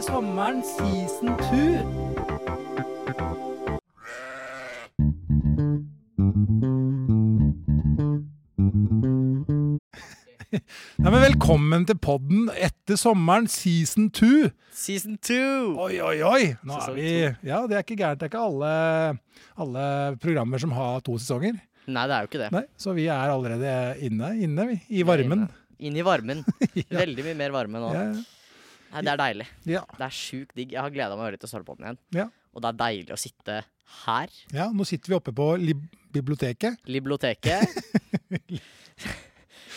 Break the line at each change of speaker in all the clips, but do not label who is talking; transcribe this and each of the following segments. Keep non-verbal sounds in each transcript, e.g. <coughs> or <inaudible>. sommeren season 2. Nei, men velkommen til podden etter sommeren season 2.
Season two!
Oi, oi, oi! Nå er
Sesong
vi Ja, det er ikke gærent. Det er ikke alle, alle programmer som har to sesonger.
Nei, det er jo ikke det.
Nei, Så vi er allerede inne, inne vi, i varmen.
<laughs> Inn i
<laughs>
varmen. Veldig mye mer varme nå.
Ja,
Nei, det er deilig.
ja,
Det er sjukt digg. Jeg har gleda meg veldig til å starte på den igjen.
ja.
Og det er deilig å sitte her,
ja, nå sitter vi oppe på lib biblioteket. <laughs>
biblioteket.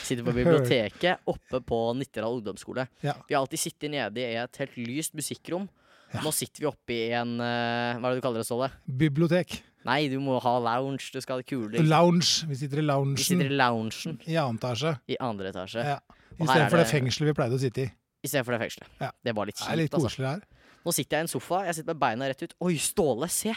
Sitter på biblioteket oppe på Nittedal ungdomsskole.
Ja.
Vi har alltid sittet nede i et helt lyst musikkrom. Nå sitter vi oppe i en eh, Hva er det du kaller det, Ståle?
Bibliotek.
Nei, du må ha lounge. Du skal ha det kule.
Lounge. Vi sitter i
Vi
loungen
sitter i loungen
i annen etasje.
i andre etasje
Ja.
Og her er
Istedenfor det
det-
fengselet vi pleide å sitte i.
istedenfor det fengselet.
Ja.
Det var litt
Det er litt
kjipt, altså.
koselig
<laughs>
her.
Nå sitter jeg i en sofa, jeg sitter med beina rett ut. Oi, Ståle, se!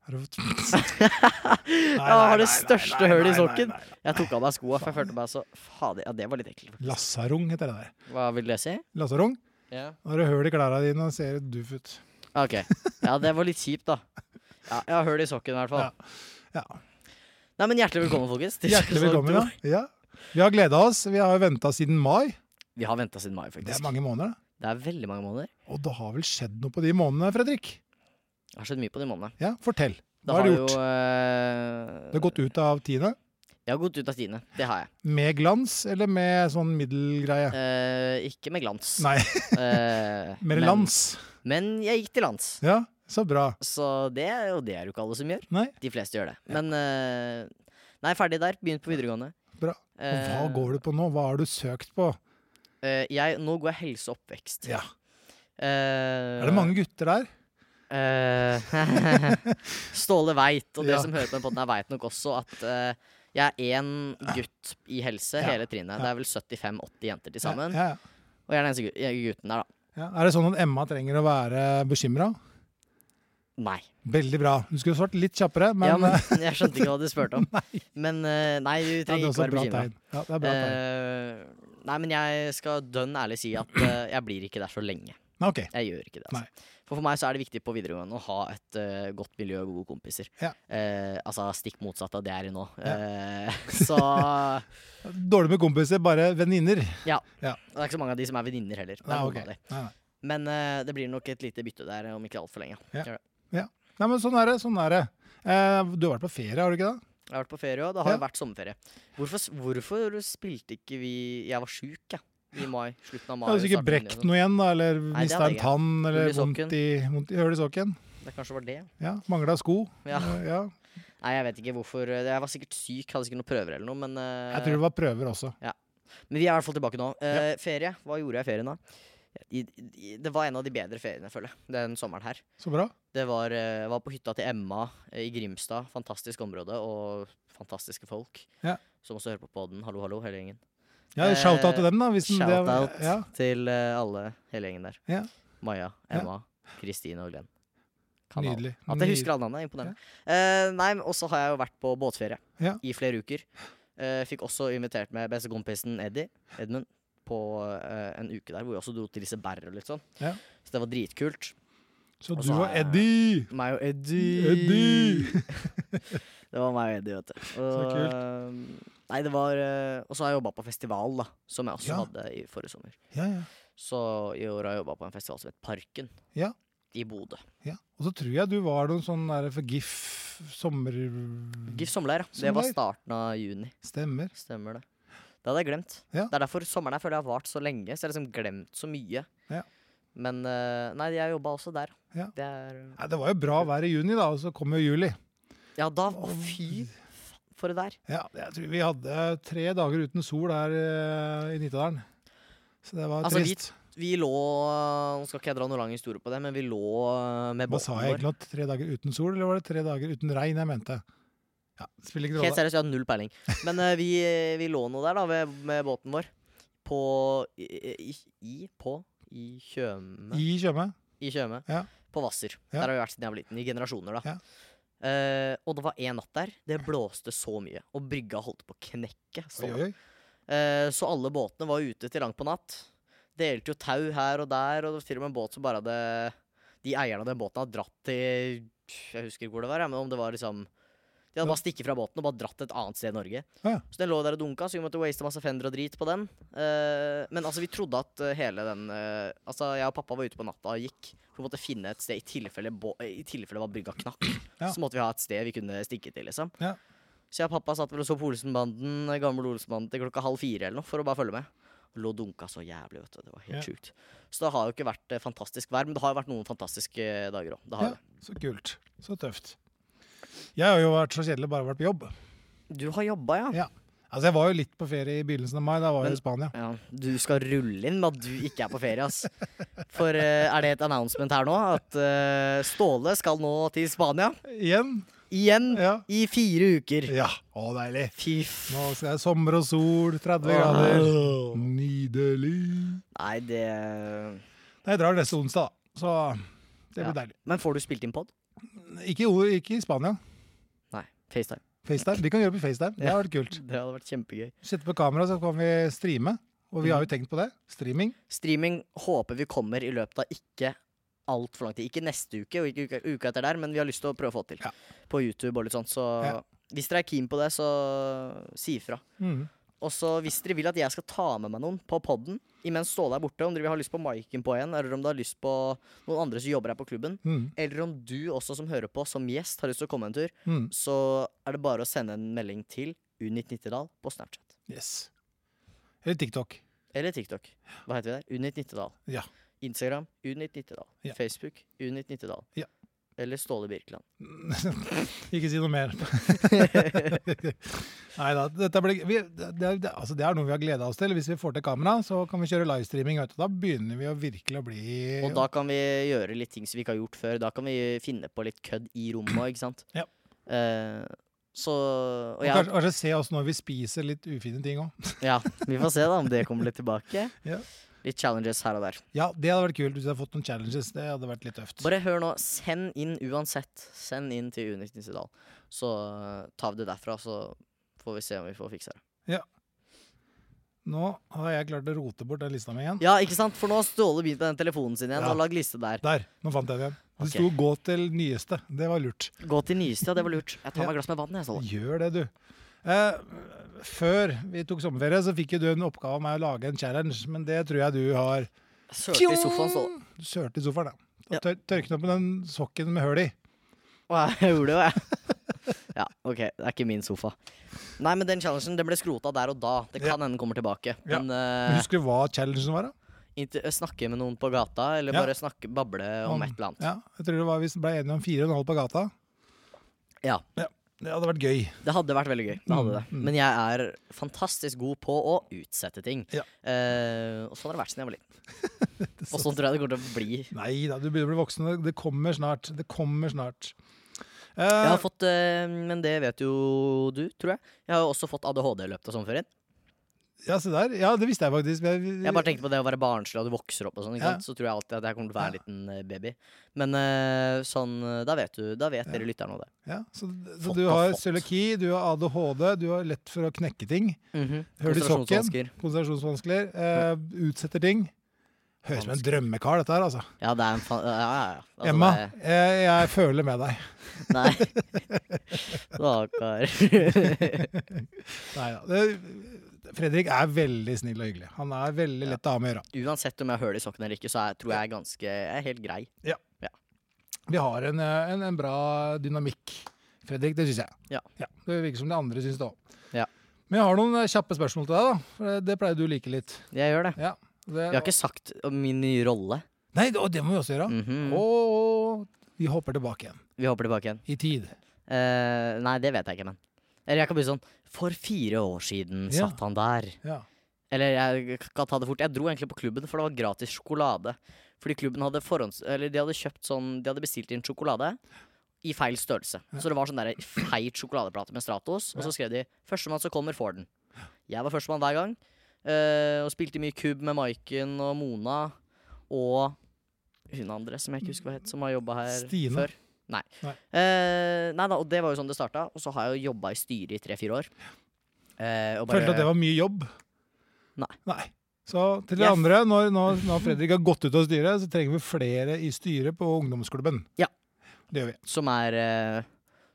Har du fått- Nei, nei,
Jeg har det
nei, nei,
største
nei,
hølet i
nei,
sokken.
nei, nei,
Jeg tok av meg skoa, for jeg følte meg så Fader, ja, det var litt ekkelt.
nei. Lassarung heter det der.
Hva vil det si?
Lassarung.
Ja.
Nå har du høl i klærne dine og ser duff ut.
OK. Ja, det var litt kjipt, da. Ja, jeg har høl i sokken, i hvert fall.
Ja.
Nei, men hjertelig velkommen, folkens. til
Hjertelig
sesong
velkommen.
to.
Ja. Ja. Vi har gleda oss. Vi har venta siden mai.
Vi har venta siden mai,
Det er
faktisk.
mange måneder. da.
Det er veldig mange måneder.
Og det har vel skjedd noe på de månedene, Fredrik?
Det har skjedd mye på de månedene.
Ja, fortell.
Det
Hva har du gjort?
Jo, eh,
Du har gått ut av tiende.
Jeg har gått ut av tiende. Det har jeg.
Med glans, eller med sånn middelgreie?
Eh, ikke med glans.
Nei, <laughs>
Eh,
med
men-
lans.
Men jeg gikk til lands.
Ja, så bra.
Så det, er jo- det er jo ikke alle som gjør.
Nei.
De fleste gjør det. Men eh, Nei, ferdig der. Begynt på videregående.
Bra. Og hva
Eh,
går du på nå? Hva har du søkt på?
jeg, nå går jeg helse og oppvekst.
Ja.
Eh,
Er det mange gutter der?
eh, <laughs> Ståle veit, og dere
Ja.
som hører på den podden her veit nok også, at eh, jeg er én gutt i helse
Ja.
hele trinnet. Det
Ja.
er vel 75-80 jenter til sammen.
Ja, ja.
Og jeg er den eneste gu- jeg- gutten der, da.
Ja. Er det sånn at Emma trenger å være bekymra?
Nei.
Veldig bra. Du skulle svart litt kjappere, men, eh,
ja,
<laughs>
men <laughs> jeg skjønte ikke hva du spurte om. Men eh, nei, du
Ja, det er
trenger ikke
også et
være
bra
bekymra.
tegn. Ja, det er bra tegn.
Eh, nei, men jeg skal dønn ærlig si at eh, jeg blir ikke der så lenge.
Nei, ok.
Jeg gjør ikke det.
Nei.
Altså. For for meg så er det viktig på videregående å ha et eh, godt miljø og gode kompiser.
Ja.
Eh, altså stikk motsatt av det jeg er i nå. Eh, <laughs> så
Dårlig med kompiser, bare venninner.
Det er ikke så mange av de som er venninner heller. Det er
Nei,
noen
ok.
av de.
Nei, nei.
Men eh, det blir nok et lite bytte der om ikke altfor lenge.
Ja.
Gjør det.
nei, men sånn er det. Sånn er det. Eh, du har vært på ferie, har du ikke det?
Jeg har vært på ferie òg. Det har jo
Ja.
vært sommerferie. Hvorfor, hvorfor spilte ikke vi Jeg var sjuk, jeg. I mai. Slutten av mai.
Har du sikkert
starten av juni og
brekt
sånn.
noe igjen, da? Eller
Nei, det
mista
hadde
en
jeg.
tann, eller
Hull i sokken.
vondt i, vondt i høl i sokken?
Det kanskje var det.
Ja, Mangla sko?
Ja.
Eh, ja.
Nei, jeg vet ikke hvorfor. eh, Jeg var sikkert syk, hadde sikkert noen prøver eller noe, men, eh,
Jeg tror det var prøver også.
men vi er i hvert fall tilbake nå. Eh, Ferie. Hva gjorde jeg i ferien da? I, i, det var en av de bedre feriene, føler jeg, den sommeren her.
Så bra.
Det var, eh, var på hytta til Emma eh, i Grimstad. Fantastisk område og fantastiske folk.
Ja.
Som også hører på podden. Hallo, hallo, hele gjengen.
Ja,
Eh,
Shout-out til dem, da. Hvis den- det-
Shout-out
Ja.
til eh, alle, hele gjengen der.
Ja.
Maja, Emma, Kristine og Glenn. Kanal.
Nydelig.
At jeg husker alle navnene, er imponerende. Eh, nei, men også har jeg jo vært på båtferie
Ja.
i flere uker. Eh, fikk også invitert med bestekompisen Eddie Edmund på eh, en uke der, hvor vi også dro til Liseberg og litt sånn.
Ja.
Så det var dritkult.
Så
Og
du
så
og
er jeg-
Eddie!
Meg og Eddie.
Eddie!
<laughs> Det var meg og Eddie, vet du.
Så
kult. Nei, det var eh, Og så har jeg jobba på festival, da, som jeg også
Ja.
hadde i forrige sommer.
Ja, ja.
Så i år har jeg jobba på en festival som het Parken.
Ja.
I Bodø.
Ja, Og så tror jeg du var noen sånn der for GIF sommer...
GIF sommerleir. ja. Det var
Sommerleir.
starten av juni.
Stemmer.
Stemmer det. Det hadde jeg glemt.
Ja.
Det er derfor sommeren her føler jeg har vart så lenge. Så jeg har liksom glemt så mye.
Ja.
Men eh, nei, jeg jobba også der.
Ja.
Det er,
Nei, det var jo bra vær i juni, da, og så kom jo juli.
ja, da Å, fy faen, for det der.
Ja, Jeg tror vi hadde tre dager uten sol her eh, i Nittedalen. Så det var
Altså, vi-
trist.
Vi lå Nå skal ikke jeg dra noen lang historie på det, men vi lå eh, med
Hva sa
båten
jeg
vår.
egentlig? nå? Tre dager uten sol, eller var det tre dager uten regn jeg mente? Ja, det spiller ikke
Helt
rolle.
seriøst, jeg har null peiling. Men eh, vi, vi lå nå der, da, ved, med båten vår. På I, i, i På I Tjøme.
I Tjøme.
i Tjøme.
Ja.
På Hvasser.
Ja.
Der har vi vært siden jeg var liten. I generasjoner, da.
Ja.
Eh, og det var én natt der. Det blåste så mye, og brygga holdt på å knekke.
Oi,
Så,
oi, oi.
Eh, så alle båtene var ute til langt på natt. delte jo tau her og der, og det var til og med en båt som bare hadde De eierne av den båten hadde dratt til Jeg husker ikke hvor det var, jeg, men om det var liksom De hadde bare stikket fra båten og bare dratt til et annet sted i Norge.
Ja.
Så den lå der og dunka, så vi måtte waste masse fender og drit på den. Eh, men altså, vi trodde at eh, hele den eh, Altså, jeg og pappa var ute på natta og gikk. For vi måtte finne et sted i tilfelle, bå- i tilfelle var brygga knakk.
Ja.
Så måtte vi ha et sted vi kunne stikke til, liksom.
Ja.
Så jeg og pappa satt vel og så på Olsenbanden, eh, gammel Olsenbanden til klokka halv fire eller noe, for å bare følge med. Og lå og dunka så jævlig, vet du. Det var helt
Ja.
sjukt. Så det har jo ikke vært eh, fantastisk vær, men det har jo vært noen fantastiske eh, dager òg. Det har
Ja, så kult. Så tøft. Jeg har jo vært så kjedelig, bare vært på jobb.
det. Du har jobba, ja.
Altså, jeg var jo litt på ferie i begynnelsen av mai, da var jeg
Men-
i Spania.
ja. Du skal rulle inn med at du ikke er på ferie, ass. For eh, er det et announcement her nå? At eh, Ståle skal nå til Spania?
Igjen.
Igjen?
Ja.
I fire uker.
ja. Å, deilig.
Fy f...
Nå skal jeg sommer og sol, 30 grader. Nydelig.
Nei, det eh,
Nei, Jeg drar neste onsdag, da. så det blir
Ja.
deilig.
Men får du spilt inn pod?
Ikke, i- ikke i Spania.
Nei. FaceTime.
FaceTime. Vi kan gjøre det på FaceTime. Det har vært kult.
Det hadde vært kjempegøy.
Sette på kamera, så kan vi streame. Og vi har jo tenkt på det. Streaming.
Streaming håper vi kommer i løpet av ikke altfor lang tid. Ikke neste uke og ikke uka, uka etter der, men vi har lyst til å prøve å få til.
Ja.
På YouTube og litt sånt. Så
Ja.
hvis dere er keen på det, så si ifra.
Mm.
Og så hvis dere vil at jeg skal ta med meg noen på podden imens Ståle er borte, om dere vil ha lyst på Maiken på en, eller om du har lyst på noen andre som jobber her på klubben,
Mm.
eller om du også som hører på, som gjest, har lyst til å komme en tur,
Mm.
så er det bare å sende en melding til Unit Nittedal på Snapchat.
Yes. Eller TikTok.
Eller TikTok. Hva heter vi der? Unit Nittedal.
Ja.
Instagram Unit Nittedal.
Ja.
Facebook Unit Nittedal.
Ja.
Eller Ståle Birkeland.
Ikke si noe
<laughs>
mer. Nei da. Dette blir, vi, det, er- det, altså det er noe vi har gleda oss til. Hvis vi får til kamera, så kan vi kjøre livestreaming. Vet du. Da begynner vi å virkelig å bli
Og da kan vi gjøre litt ting som vi ikke har gjort før. Da kan vi finne på litt kødd i rommet, ikke sant?
Ja.
Eh, så Og
Og
jeg,
kanskje, kanskje se oss når vi spiser litt ufine ting òg.
ja, vi får se da om det kommer litt tilbake.
Ja.
Litt challenges her og der.
Ja, det hadde vært kult hvis vi hadde fått noen challenges. Det hadde vært litt tøft.
Bare hør nå. Send inn uansett. Send inn til Unit Nittedal. Så eh, tar vi det derfra, så får vi se om vi får fiksa det.
Nå har jeg klart å rote bort den lista mi igjen.
Ja, ikke sant? For nå har Ståle begynt på den telefonen sin igjen
Ja.
og lagd liste der.
Der, nå fant jeg det igjen. Det
Ok.
sto 'gå til nyeste'. Det var lurt.
Gå til nyeste, ja. Det var lurt. Jeg tar
Ja.
meg et glass med vann, jeg, Ståle.
Gjør det, du. Eh, før vi tok sommerferie, så fikk jo du en oppgave av meg å lage en challenge, men det tror jeg du har
Sørte i sofaen, Ståle.
Du sørte i sofaen, ja.
Ja.
Og tør, tørket opp med den sokken med høl i.
Å, jeg <laughs> gjorde det jo, jeg. Ja, OK. Det er ikke min sofa. Nei, men den challengen den ble skrota der og da. Det kan
Ja.
hende den kommer tilbake.
Ja.
Men eh,
Husker du hva challengen var? da?
inte- snakke med noen på gata, eller
Ja.
bare snakke, bable om
Om-
et eller annet.
Ja, jeg tror det var Vi ble enige om fire og en halv på gata.
Ja.
Det hadde vært gøy.
Det hadde vært veldig gøy. Det hadde det.
Mm, mm.
Men jeg er fantastisk god på å utsette ting.
Ja.
Eh, og sånn har det vært siden jeg var
<laughs>
liten. Og sånn tror jeg det kommer til å bli.
Nei da, du begynner å bli voksen. og Det kommer snart. Det kommer snart. Eh,
Jeg har fått, eh, Men det vet jo du, tror jeg. Jeg har jo også fått ADHD i løpet av sommerferien.
ja, se der. Ja, det visste jeg faktisk. men Jeg,
Jeg bare tenkte på det å være barnslig og du vokser opp og sånn. ikke
Ja.
sant? Så tror jeg alltid at jeg kommer til å være en
Ja.
liten eh, baby. Men eh, sånn, eh, da vet du, da vet dere lytterne om det.
ja, så, så
Fått
du
og
har
fått.
cøliaki, du har ADHD, du har lett for å knekke ting.
Mhm.
Hører du sokken?
Konsentrasjonsvansker.
Konsentrasjonsvansker. eh, utsetter ting. Høres ut som en drømmekar, dette her, altså.
Ja, det er en fa... Ja, ja, ja. Altså,
Emma,
det-
jeg, jeg føler med deg.
Nei. <laughs> Stakkar.
Nei da. Det- Fredrik er veldig snill og hyggelig. Han er veldig lett å ha med å gjøre.
Uansett om jeg har høl i sokken eller ikke, så er, tror jeg jeg er ganske Jeg er helt grei.
Vi har en, eh, en, en bra dynamikk. Fredrik, det syns jeg.
Ja.
Det virker som de andre syns det òg.
Ja.
Men jeg har noen eh, kjappe spørsmål til deg, da. For det- det pleier du å like litt.
Jeg gjør det.
Det,
Jeg har ikke sagt om min nye rolle.
Nei, det- og det må vi også gjøre.
Mhm.
Og vi hopper tilbake igjen.
Vi hopper tilbake igjen.
I tid.
Eh, nei, det vet jeg ikke, men. Eller jeg kan bli sånn For fire år siden
Ja.
satt han der.
Ja.
Eller jeg kan ta det fort. Jeg dro egentlig på klubben, for det var gratis sjokolade. Fordi klubben hadde forhånds... Eller de hadde kjøpt sånn De hadde bestilt inn sjokolade i feil størrelse. Så det var sånn der feit sjokoladeplate med Stratos, og så skrev de 'Førstemann som kommer, får den'. Jeg var førstemann hver gang. eh, og spilte mye kubb med Maiken og Mona og hun andre som jeg ikke husker hva het, som har jobba her
Stine.
før. Nei.
Nei.
Eh, nei da, og det var jo sånn det starta. Og så har jeg jo jobba i styret i tre-fire år. Eh, og
Følte du at det var mye jobb?
Nei.
Nei. Så til de
Yes.
andre, når, når, når Fredrik har gått ut av styret, så trenger vi flere i styret på ungdomsklubben.
Ja.
Det gjør vi.
Som er eh,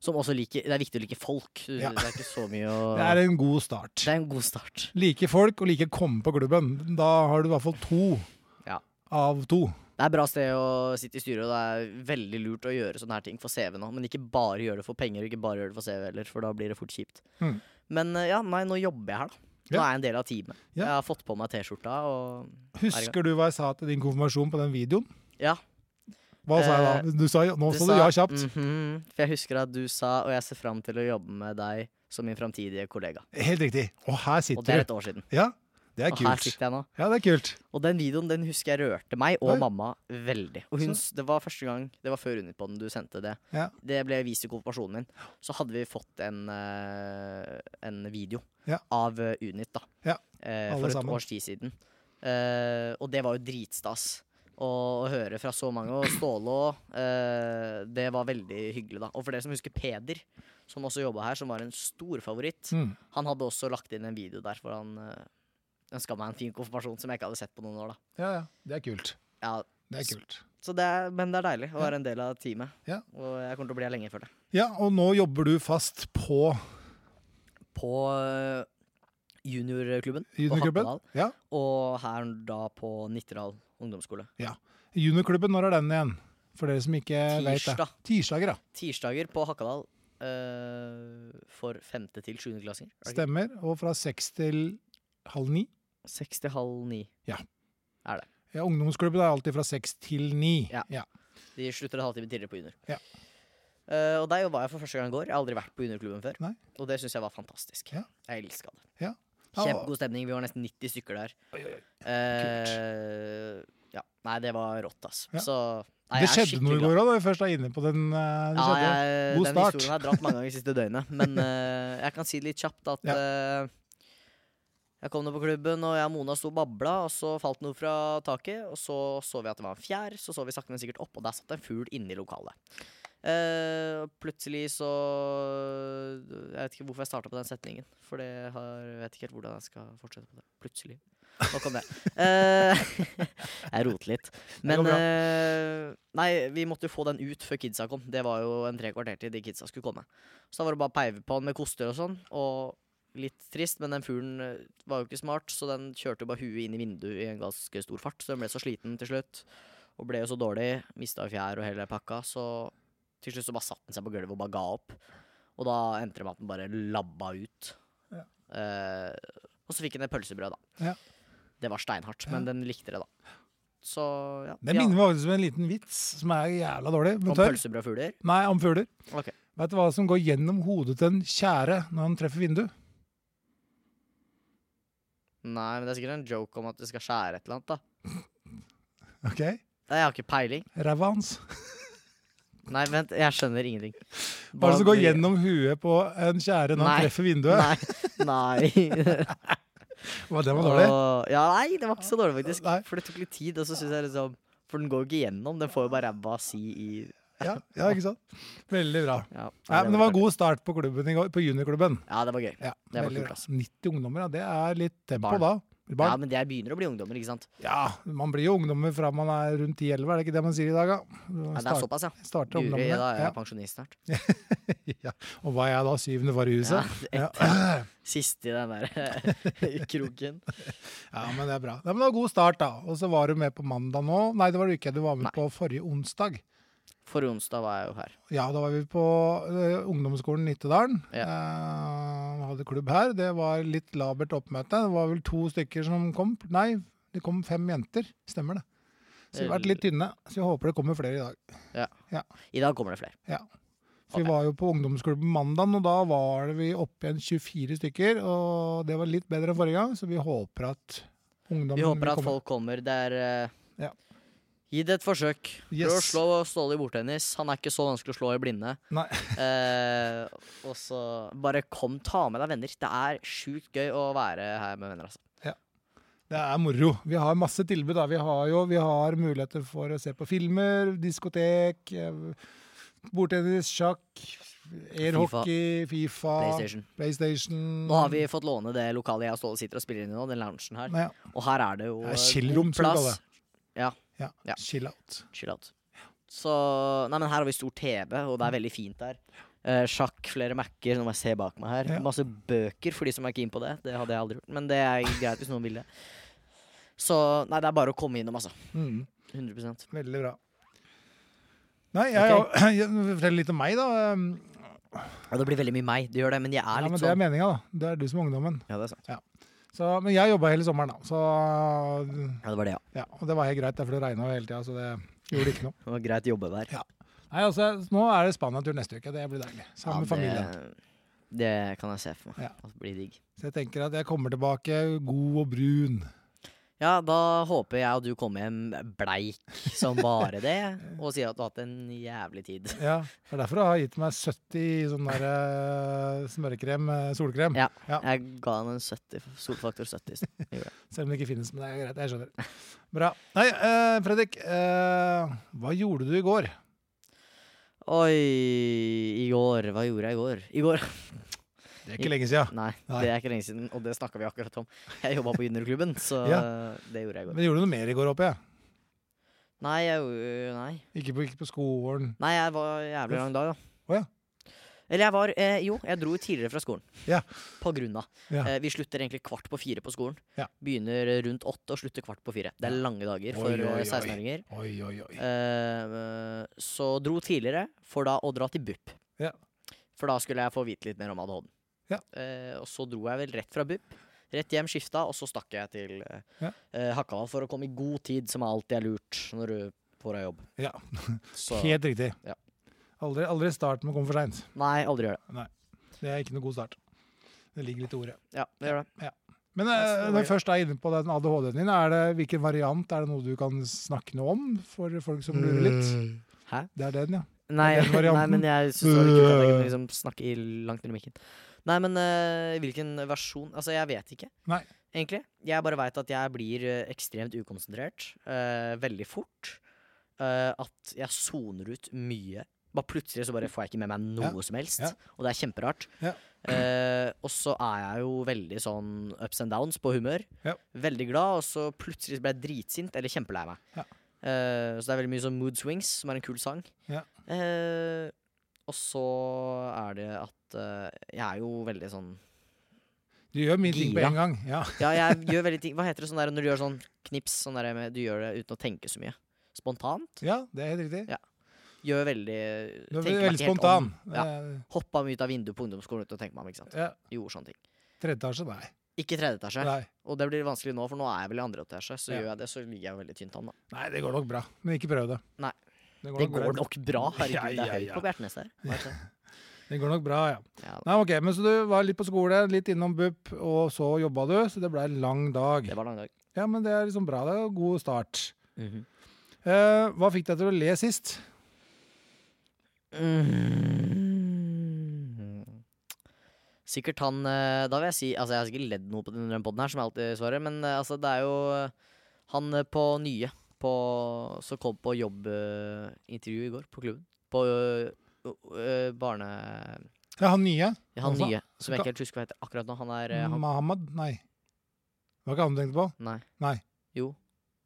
Som også liker Det er viktig å like folk.
Ja.
Det er ikke så mye å
<laughs> Det er en god start.
det er en god start.
Like folk og like komme på klubben. Da har du i hvert fall to
Ja.
av to.
Det er et bra sted å sitte i styret, og det er veldig lurt å gjøre sånne her ting for CV nå. Men ikke bare gjøre det for penger, og ikke bare gjøre det for CV heller, for da blir det fort kjipt.
Mm.
Men eh, ja, nei, nå jobber jeg her, da. Nå
Ja.
er jeg en del av teamet.
Ja.
Jeg har fått på meg T-skjorta og
Husker du hva jeg sa til din konfirmasjon på den videoen?
Ja. Eh,
Hva sa jeg da? Du sa, nå
Du
sa du
sa,
ja kjapt.
«Mhm», For jeg husker at du sa Og jeg ser fram til å jobbe med deg som min framtidige kollega.
Helt riktig. Og her
mm. Og det
sitter
er
du.
et år siden.
Ja, det er
Og her
kult.
sitter jeg nå.
Ja, det er kult.
Og den videoen den husker jeg rørte meg og
Oi.
mamma veldig. Og hun,
Så-
s- Det var første gang, det var før Unipodden du sendte det.
Ja.
Det ble vist i konfirmasjonen min. Så hadde vi fått en, eh, en video
Ja.
av eh, Unit da
Ja,
Eh,
alle
for et
sammen.
års tid siden. Eh, og det var jo dritstas å, å høre fra så mange. Og Ståle òg. det var veldig hyggelig, da. Og for dere som husker Peder, som også jobba her, som var en stor favoritt.
Mm.
Han hadde også lagt inn en video der hvor han uh, ønska meg en fin konfirmasjon som jeg ikke hadde sett på noen år. da
Ja, ja. Det er kult.
ja,
Det er kult.
så det er, Men det er deilig å være en del av teamet.
Ja.
Og jeg kommer til å bli her lenge, føler jeg.
Ja, og nå jobber du fast på
På øh, juniorklubben på
juniorklubben.
Hattedal,
Ja.
og her da på Nittedal ungdomsskole.
Juniorklubben, når er den igjen? For dere som ikke vet det.
Tirsdag.
Tirsdager, ja.
Tirsdager på Hakadal øh, for femte til sjuende klassinger. er det ikke?
Stemmer. Og fra seks til halv ni.
Seks til halv ni.
Ja, ungdomsklubben er alltid fra seks til ni.
Ja.
Ja.
De slutter en halvtime tidligere på junior.
Ja.
Eh, og der jobba jeg for første gang i går. Jeg har aldri vært på juniorklubben før.
Nei.
Og det syns jeg var fantastisk.
Ja.
Jeg elska det.
Ja. Ja, og-
Kjempegod stemning. Vi var nesten 90 stykker der.
Oi, oi, oi.
Eh, ja. Nei, det var rått, ass.
Ja.
Så nei,
Det
jeg er
skjedde noe i
skikkelig
går òg, da vi først er inne på den. eh, Det
Ja,
skjedde.
jeg,
God
den
start.
historien har jeg dratt mange ganger de siste døgnet.
<laughs>
Men eh, jeg kan si det litt kjapt at
Ja.
eh, jeg kom nå på klubben, og jeg og Mona sto og babla, og så falt noe fra taket. Og så så vi at det var en fjær, så så vi sakte, men sikkert opp, og der satt det en fugl inne i lokalet. Eh, og plutselig så Jeg vet ikke hvorfor jeg starta på den setningen. For det har, jeg vet ikke helt hvordan jeg skal fortsette på det. Plutselig. Nå kom det. Eh, <laughs> jeg roter litt.
går
Men
bra.
eh, Nei, vi måtte jo få den ut før kidsa kom. Det var jo en tre kvarter til de kidsa skulle komme. Så da var det bare å peive på den med koster og sånn. Og litt trist, men den fuglen eh, var jo ikke smart, så den kjørte jo bare huet inn i vinduet i en ganske stor fart. Så den ble så sliten til slutt, og ble jo så dårlig. Mista fjær og hele pakka. Så til slutt så bare satte den seg på gulvet og bare ga opp. Og da endte det med at den bare labba ut.
Ja.
Eh, og så fikk den et pølsebrød, da.
Ja.
Det var steinhardt, men den likte det, da. Så ja.
Det
ja.
minner meg faktisk om en liten vits som er jævla dårlig. men
Om
tørr.
pølsebrødfugler?
Nei, om fugler.
Ok.
Vet du hva som går gjennom hodet til en tjære når han treffer vindu?
Nei, men det er sikkert en joke om at det skal skjære et eller annet, da.
Ok?
Nei, jeg har ikke peiling.
Ræva hans.
Nei, vent, jeg skjønner ingenting.
Hva er det som går
blir-
gjennom huet på en tjære når
Nei.
han treffer vinduet?
<laughs> Nei.
<laughs>
nei.
Hva, den var dårlig.
Åh, ja, nei, det var ikke så dårlig, faktisk.
Nei.
For det tok litt tid, og så syns jeg liksom For den går jo ikke gjennom. Den får jo bare ræva si i
Ja, ja, ikke sant? Veldig bra.
Ja,
Nei, men det var en
kult.
god start på, klubben i går, på juniorklubben.
Ja, det var gøy.
Ja,
Det var
veldig
kult,
bra.
ass.
90 ungdommer, ja. Det er litt tempo
Barn.
da.
Ja,
Barn.
men jeg begynner å bli ungdommer, ikke sant?
Ja, man blir jo ungdommer fra man er rundt 10-11, er det ikke det man sier i dag, da?
Ja, det er
Start,
såpass, ja.
starter
Guri,
ungdommene.
da er
Ja. <laughs>
jeg pensjonist snart.
Ja. Og hva er jeg da? Syvende var i huset?
Ja,
Ja.
et-
Ja.
Siste i
<laughs>
den der kroken.
men det er bra. Nei, men det var god start, da. Og så var du med på mandag nå. Nei, det var du ikke. Du var med
Nei.
på forrige onsdag.
Forrige onsdag var jeg jo her.
Ja, da var vi på eh, ungdomsskolen Nittedalen.
Ja.
Eh, hadde klubb her. Det var litt labert oppmøte. Det var vel to stykker som kom. Nei, det kom fem jenter. Stemmer det. Så vi har vært litt tynne. Så jeg håper det kommer flere i dag.
I dag kommer det flere.
For Vi
Ok.
var jo på ungdomsklubben mandag, og da var det vi oppe igjen 24 stykker. Og det var litt bedre enn forrige gang, så vi håper at ungdommen
Vi håper
vil
at
komme.
folk kommer. Det er eh,
Ja.
Gi det et forsøk. Prøv å
Yes.
slå Ståle i bordtennis. Han er ikke så vanskelig å slå i blinde.
Nei.
<laughs> Eh, og så bare kom, ta med deg venner. Det er sjukt gøy å være her med venner. Altså.
Det er moro. Vi har masse tilbud. Da. Vi har jo vi har muligheter for å se på filmer, diskotek, eh, Bordtennis, sjakk, airhockey, FIFA,
PlayStation.
PlayStation
Nå har vi fått låne det lokalet jeg og Ståle sitter og spiller inn i nå, den loungen her.
ja,
Og her er det jo
Det er
eh,
chillrom,
god
som vi kaller
Ja,
ja,
Ja.
Chill out.
chill out. Så Nei, men her har vi stor TV, og det er veldig fint der. Eh, sjakk, flere Mac-er, nå må jeg se bak meg her.
Ja.
Masse bøker for de som er keen på det. Det hadde jeg aldri gjort, men det er greit hvis noen vil det. Så nei, det er bare å komme innom, altså.
Mm.
100
Veldig bra. Nei, jeg, jeg, <clears throat> fortell litt om meg, da. Um,
Ja, det blir veldig mye meg. Det gjør det, men jeg er
Ja,
litt
men Det er
sånn
meninga, da. Det er du som er ungdommen.
Ja, det er sant.
Så, men jeg jobba hele sommeren, da. Så,
Ja, det var det, ja.
ja, og det var helt greit, da, for det regna hele tida, så det gjorde ikke noe.
Det var greit jobbe der.
Nei, altså, Nå er det Spania-tur neste uke. Det blir deilig.
Ja,
Sammen med familien.
Det, det kan jeg se for meg.
Ja.
At det blir digg.
Så jeg tenker at jeg kommer tilbake god og brun.
Ja, da håper jeg at du kommer hjem bleik som bare det,
<laughs>
og sier at du har hatt en jævlig tid.
Ja, Det er derfor jeg har gitt meg 70 sånn der eh, smørkrem, eh, solkrem.
Ja.
Ja.
Jeg ga han en 70, solfaktor 70. i sted.
Selv om det ikke finnes, men det er greit. Jeg skjønner. Bra. Nei, eh, Fredrik. eh, hva gjorde du i går?
Oi, i går. Hva gjorde jeg i går? I går <laughs>
Det er ikke lenge sia.
Nei,
Nei.
det er ikke lenge siden, og det snakka vi akkurat om. Jeg jobba på juniorklubben, så det gjorde jeg i går.
Men gjorde du noe mer i går, håper jeg?
Nei, jeg gjorde- Nei.
Ikke på, ikke på skolen?
Nei, jeg var jævlig lang dag, da.
Å ja.
Eller jeg var eh, Jo, jeg dro tidligere fra skolen.
Ja.
På grunn av.
Ja.
Eh, vi slutter egentlig kvart på fire på skolen.
Ja.
Begynner eh, rundt åtte og slutter kvart på fire. Det er lange dager for
Oi, oi,
eh,
oi.
16-åringer.
Oi, oi, oi.
Eh, så dro tidligere for da å dra til BUP.
Ja.
For da skulle jeg få vite litt mer om ADHD.
Ja.
Eh, og så dro jeg vel rett fra BUP. Rett hjem, skifta, og så stakk jeg til eh,
Ja.
eh, Hakka for å komme i god tid, som alltid er lurt når du får deg jobb.
Ja.
Så,
Helt riktig.
Ja.
Aldri, aldri start med å komme for seint.
nei, aldri gjør det.
Det er ikke noe god start. Det ligger litt i ordet.
Ja, det gjør det.
Men eh,
det var
når jeg
greit.
først er inne på den ADHD-en din, er det, hvilken variant er det noe du kan snakke noe om for folk som lurer
Mm.
litt?
Hæ?
Det er den, ja.
Nei,
Er det den
nei,
varianten?
men jeg syns det var litt kult at jeg
Eh.
kunne liksom snakke i langt ned i mikken. Nei, men eh, hvilken versjon Altså, jeg vet ikke.
Nei.
Egentlig. Jeg bare veit at jeg blir eh, ekstremt ukonsentrert eh, veldig fort. eh, at jeg soner ut mye. Bare plutselig så bare får jeg ikke med meg noe
Ja.
som helst.
Ja.
Og det er kjemperart.
Ja.
Eh, og så er jeg jo veldig sånn ups and downs på humør.
Ja.
Veldig glad, og så plutselig så ble jeg dritsint eller kjempelei meg.
Ja.
Eh, så det er veldig mye sånn mood swings, som er en kul sang.
Ja.
Eh, og så er det at eh, jeg er jo veldig sånn
Du gjør mye ting på
Gira.
en gang. Ja.
Ja, jeg gjør veldig ting Hva heter det sånn der når du gjør sånn knips? Sånn der med, du gjør det uten å tenke så mye. Spontant.
ja, det er helt riktig.
Gjør
Du
veldig
er
tenker meg
veldig
ikke helt om.
spontan.
Ja.
Eh,
Hoppa mye ut av vinduet på ungdomsskolen uten å tenke meg om. ikke sant?
Ja.
Gjorde sånne ting.
Tredje etasje, nei.
Ikke tredje etasje.
nei.
Og det blir vanskelig nå, for nå er jeg vel i andre etasje. Så
Ja.
gjør jeg det, så ligger jeg jo veldig tynt an. da.
Nei, det går nok bra. Men ikke prøv det.
Nei.
Det
Det
nok
går
bra.
nok bra.
Ja,
Herregud, det er
ja,
høyt
ja.
på Bjertnæs der. Hva heter det?
Det går nok bra, ja.
Ja, da.
Nei, ok, men Så du var litt på skole, litt innom BUP, og så jobba du. Så det ble en lang dag.
Det var lang dag.
Ja, men det er liksom bra. Det er jo god start.
Mhm.
Eh, hva fikk deg til å le sist?
Mm. Sikkert han eh, Da vil jeg si Altså, jeg har sikkert ledd noe på den- den poden her, som jeg alltid svarer, men eh, altså, det er jo eh, han eh, på nye på, som kom på jobbintervju i går på klubben. På eh, o- eh, barne...
Ja, Han nye?
ja, Han
Hva?
nye, som jeg
Ka-
ikke helt husker hva heter akkurat nå. Han er eh, han,
Mahamad? Nei. Det var ikke han du tenkte på?
Nei.
Nei.
Jo.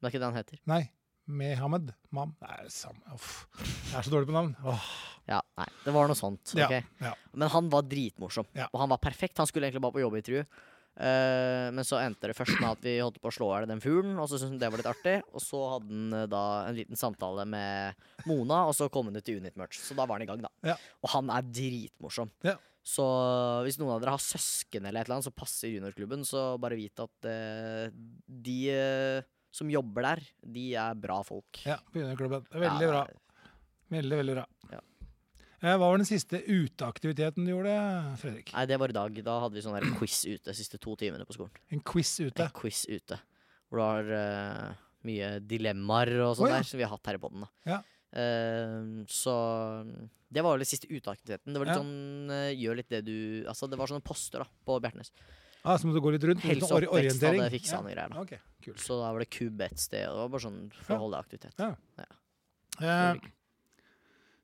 Det er ikke det han heter.
Nei. Mehammed? Mam? Nei, det er samme. Uff. Jeg er så dårlig på navn. Åh.
Ja, nei, det var noe sånt.
Ja,
ok?
ja.
Men han var dritmorsom,
Ja.
og han var perfekt. Han skulle egentlig bare på jobbintervju. Eh, men så endte det først med at vi holdt på å slå i hjel den fuglen, og så syntes han det var litt artig. Og så hadde han eh, da en liten samtale med Mona, og så kom han ut til Unit Merch. Så da var han i gang, da.
Ja.
Og han er dritmorsom.
Ja.
Så hvis noen av dere har søsken eller et eller annet som passer juniorklubben, så bare vit at eh, de eh, som jobber der, de er bra folk.
Ja, begynnerklubben. Det er Veldig
Ja,
bra. Veldig, veldig bra.
Ja.
Eh, hva var den siste uteaktiviteten du gjorde, Fredrik?
Nei, det var i dag. Da hadde vi sånn der quiz ute de siste to timene på skolen.
En quiz ute?
En quiz ute. Hvor du har eh, mye dilemmaer og sånn
Å, ja.
der, som vi har hatt her i poden.
Ja.
så mm, det var vel den siste uteaktiviteten. Det var litt
Ja.
sånn eh, gjør litt det du Altså, det var sånne poster da, på Bjertnæs.
Ah, så må du gå litt rundt?
Helse
Litt sånn
og
ori-
oppvekst hadde
orientering?
fiksa
Ja.
noen greier. da
Ok, kult.
Så da var det kubb et sted, og det var bare sånn for
Ja.
å holde aktivitet.
Ja.
Ja.
Eh,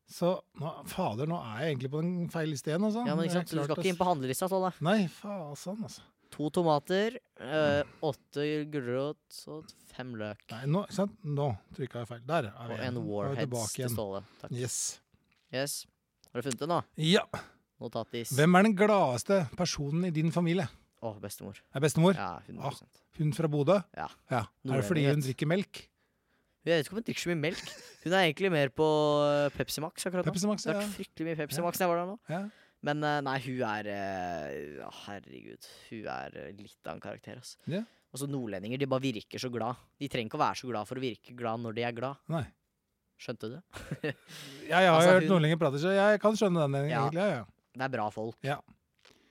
Så nå, fader, nå er jeg egentlig på den feil liste igjen, altså.
Ja, men ikke sant? Du skal ikke inn på handlelista, Tolle.
Nei, fasan, altså.
To tomater, øh, åtte gulrot og fem løk.
Nei, nå, ikke sant? nå trykka jeg feil. Der er
Og
vi
en
igjen. Nå er vi tilbake
Warheads til
igjen.
Ståle. Takk.
Yes.
Yes. Har du funnet det nå?
Ja.
Notatis. Å,
Hvem er den gladeste personen i din familie?
bestemor.
Er bestemor?
Ja, 100
Hun fra Bodø?
Ja.
Er det fordi
Nordlending,
hun
vet.
drikker melk?
Jeg vet ikke om hun drikker så mye melk. Hun er egentlig mer på øh, Pepsi Max akkurat nå.
Pepsi Max,
Det har
ja.
vært fryktelig mye Pepsi
Ja.
Max da jeg var der nå.
ja.
Men eh, nei, hun er eh, ja, Herregud. Hun er eh, litt av en karakter, altså.
Ja.
Og så nordlendinger, de bare virker så glad. De trenger ikke å være så glad for å virke glad når de er glad.
Nei.
Skjønte du? det?
Ja, jeg har
Altså,
hørt
hun-
nordlendinger prate, så jeg kan skjønne den.
Ja.
egentlig. Ja, ja.
Det er bra folk.
Ja.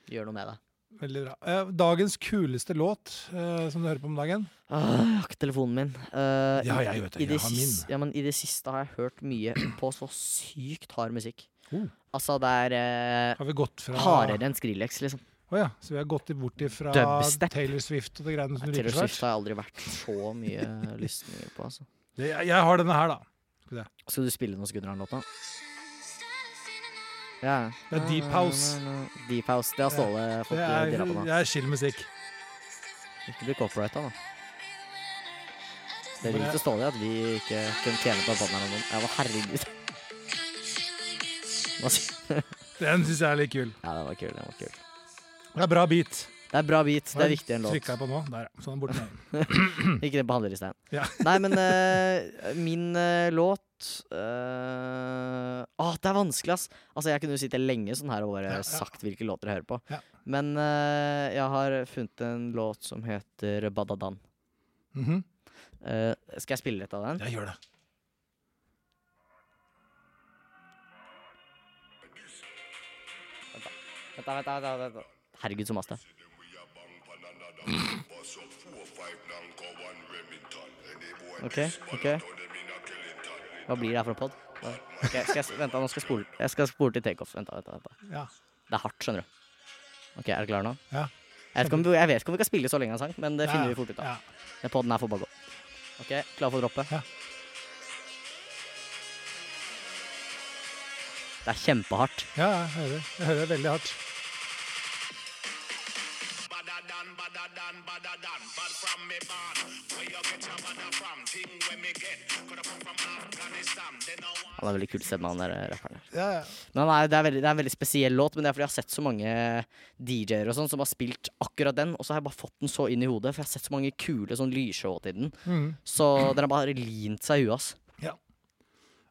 De Gjør noe med det.
Veldig bra. Eh, Dagens kuleste låt eh, som du hører på om dagen?
Åh, jeg har ikke telefonen min. Eh,
Ja,
i-
jeg vet det.
i det
Jeg har min.
sis- Ja, men I det siste har jeg hørt mye på så sykt hard musikk.
Oh. Ah.
Altså, det er
Har vi gått
uh,
fra
hardere enn Skrillex, liksom.
Å ja, så vi har gått bort ifra
Dubstep.
Taylor Swift og de greiene som du
Taylor
liker så hardt?
Swift har jeg aldri vært så mye <laughs> lysten på, altså.
Det- Jeg, jeg har denne her, da.
Skal du spille noe Skuddern-låt nå? Ja.
Det er Deep House.
Deep House, Det har Ståle fått
Det
eh,
er,
dira på nå.
det er chill musikk.
Ikke bli copyrighta, da. Det ligger til Ståle at vi ikke kunne tjene på den her om noen. Ja, men herregud. Hva sier-
Den syns jeg er litt kul.
Ja, det var kult. Det var kult.
Det er bra beat.
Det er bra beat. Det er viktig i en låt.
Trykka jeg på nå. Der, ja. Sånn borti der.
Ikke den på handlelisten.
Ja.
<laughs> Nei, men eh, min eh, låt eh, Åh, det er vanskelig, ass! Altså, jeg kunne jo sitte lenge sånn her og
Ja,
bare
ja.
sagt hvilke låter jeg hører på.
Ja.
Men eh, jeg har funnet en låt som heter Badadan.
Mhm.
Eh, skal jeg spille litt av den?
Jeg gjør det.
Vent da, vent da, vent da, vent da. Herregud, så
<laughs>
masse. OK, OK. Hva blir det her for en pod? Ok, skal jeg, s- vent da, nå skal jeg spole Jeg skal spole til takeoff. Vent da, vent da, vent da.
Ja.
Det er hardt, skjønner du. Ok, Er du klar nå?
Ja.
Jeg vet ikke om vi, jeg vet ikke om vi kan spille så lenge en sang, men det finner vi fort ut av.
Ja.
Den podden her får bare gå. OK, klar for å droppe?
Ja.
Det er kjempehardt.
ja, jeg hører Jeg hører veldig hardt.
Badadan, badadan, badadan, bad from me bad. Where you get your bada from? Thing where me get. Coulda come from Afghanistan. They know I
Han er veldig kult sett med han der eh, rapperen. der.
Ja, ja.
Men han er, det, er veldig, det er en veldig spesiell låt, men det er fordi jeg har sett så mange DJ-er og sånn som har spilt akkurat den, og så har jeg bare fått den så inn i hodet, for jeg har sett så mange kule sånn lysshow til den.
Mhm.
Så den har bare lint seg i huet, ass.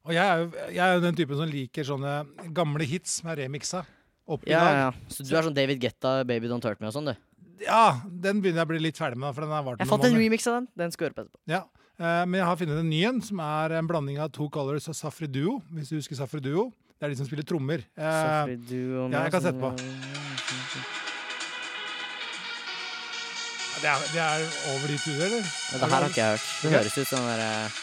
Og jeg er, jo, jeg er jo den typen som liker sånne gamle hits som er remixa. Opp i
Ja,
dag.
ja. Så du er sånn David Getta, Baby Don't Hurt Me og sånn, du.
Ja, den begynner jeg å bli litt ferdig med, da, for den har vart
Jeg
noen
fant en
måneder.
remix av den. Den skal du høre på etterpå.
Ja. eh, Men jeg har funnet en ny en, som er en blanding av Two Colors og Safri Duo. Hvis du husker Safri Duo. Det er de som spiller trommer. Eh,
Safri Duo
ja, jeg kan sette på.
eh,
Det er, det er over ditt hode, eller?
Ja, det her har ikke jeg hørt. Det høres ut som den eh, derre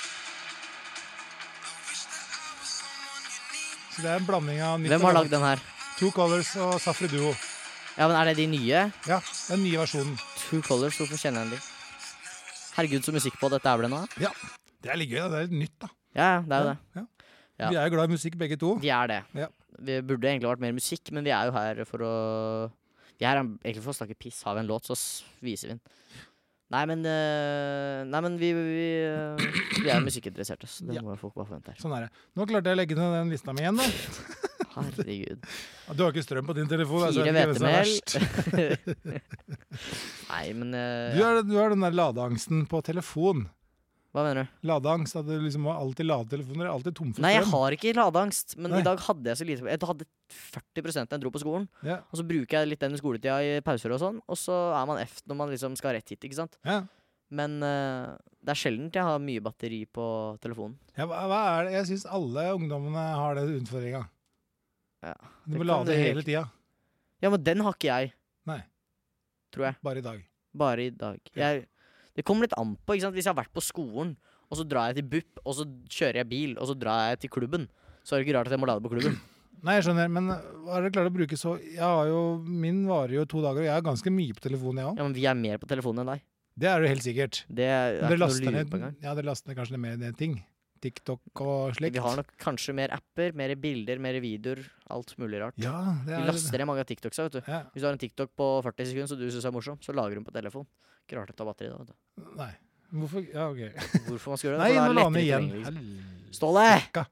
Så det er en blanding av nytt
Hvem har
og
lagd
gammelt.
den her?
Two Colors og Safri Duo.
Ja, men Er det de nye?
Ja, den nye versjonen.
Two Colors, hvorfor kjenner jeg de? Herregud, så musikk på dette er ble nå.
Ja,
da.
Det er litt gøy. da. Det er litt nytt, da.
Ja, ja, det er jo det.
Ja.
Ja.
Vi er jo glad i musikk, begge to.
Vi er det.
Ja.
Vi burde egentlig vært mer musikk, men vi er jo her for å Vi er her egentlig for å snakke piss. Har vi en låt, så s- viser vi den. Nei, men øh, Nei, men vi Vi, øh,
<clears throat>
vi er musikkinteresserte, så det
Ja.
må folk bare forvente her.
Sånn er det. Nå klarte jeg å legge ned den lista mi igjen. da.
Herregud.
Du har ikke strøm på din telefon. altså,
Fire
jeg vet ikke hvem
hvetemel.
som er verst.
<laughs> nei, men øh,
Du har, du har den der ladeangsten på telefon.
Hva mener du?
Ladeangst. At du liksom må alltid lade telefoner. er Alltid tom for strøm.
Nei, jeg har ikke ladeangst, men
Nei.
i dag hadde jeg så lite Jeg hadde 40 da jeg dro på skolen.
Ja.
Og så bruker jeg litt den i skoletida i pauser og sånn, og så er man F når man liksom skal rett hit, ikke sant.
Ja.
Men eh, det er sjelden jeg har mye batteri på telefonen.
Ja, hva, hva er det? Jeg syns alle ungdommene har den utfordringa.
Ja,
Du
det
må lade
kan det
hele
virke.
tida.
Ja, men den har ikke jeg.
Nei.
Tror jeg.
Bare i dag.
Bare i dag. Jeg, det kommer litt an på, ikke sant. Hvis jeg har vært på skolen, og så drar jeg til BUP, og så kjører jeg bil, og så drar jeg til klubben, så er det ikke rart at jeg må lade på klubben.
Nei, jeg skjønner, men hva er det klart å bruke så Jeg har jo Min varer jo to dager, og jeg har ganske mye på telefonen, jeg òg.
Ja, men vi er mer på telefonen enn deg.
Det er jo helt sikkert.
Det er
Men det
ikke noe å
laster
lure
ned
på engang.
Ja, det laster ned kanskje ned mer ned ting. TikTok og slikt.
Vi har nok kanskje mer apper, mer bilder, mer videoer. Alt mulig rart.
Ja, det
Vi
er
laster ned mange av TikToksa, vet du.
ja,
Hvis du har en TikTok på 40 sekunder som du syns er morsom, så lagrer hun på telefon. Ikke rart det tar batteri da, vet du.
Nei. Hvorfor Ja, OK.
Hvorfor man skal gjøre det?
Nei,
for
nå
da er det
la han
lettere
igjen.
tilgjengelig, liksom.
Hel-
Ståle!
Sikka.